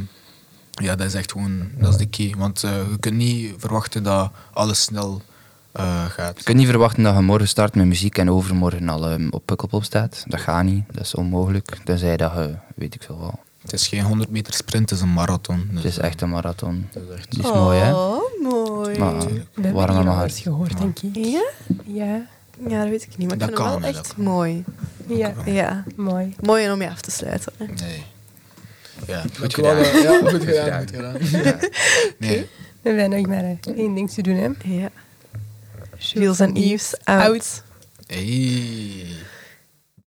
Speaker 4: ja, dat is echt gewoon, dat is de key. Want eh, je kunt niet verwachten dat alles snel eh, gaat.
Speaker 3: Je kunt niet verwachten dat je morgen start met muziek en overmorgen al ehm, op Pukkelpop staat. Dat gaat niet, dat is onmogelijk. Tenzij dat je, weet ik veel wel.
Speaker 4: Het is geen 100 meter sprint, het is een marathon. Dus,
Speaker 3: Het is
Speaker 4: eh,
Speaker 3: echt een marathon.
Speaker 4: dat is echt-
Speaker 3: Die is mooi, hè?
Speaker 2: Oh, mooi.
Speaker 3: Maar
Speaker 1: We hebben
Speaker 3: warm aan
Speaker 1: hier
Speaker 3: mijn
Speaker 1: al eens
Speaker 3: hart.
Speaker 1: gehoord, denk ik.
Speaker 2: Ja?
Speaker 1: Ja.
Speaker 2: Ja, dat weet ik niet. Maar ik
Speaker 5: Dat kan,
Speaker 2: vind hem wel
Speaker 5: hè,
Speaker 2: echt
Speaker 5: dat kan.
Speaker 2: mooi.
Speaker 1: Ja.
Speaker 2: Ja.
Speaker 1: Mooi.
Speaker 2: Mooi om je af te sluiten. hè.
Speaker 5: Nee. Ja, goed
Speaker 4: Dankjewel,
Speaker 5: gedaan.
Speaker 4: eh, Ja, goed gedaan. Goed gedaan.
Speaker 5: Nee.
Speaker 1: We hebben nog maar eh, één ding te doen, hè.
Speaker 2: Ja. Jules en Yves, out.
Speaker 1: Out.
Speaker 5: Hey.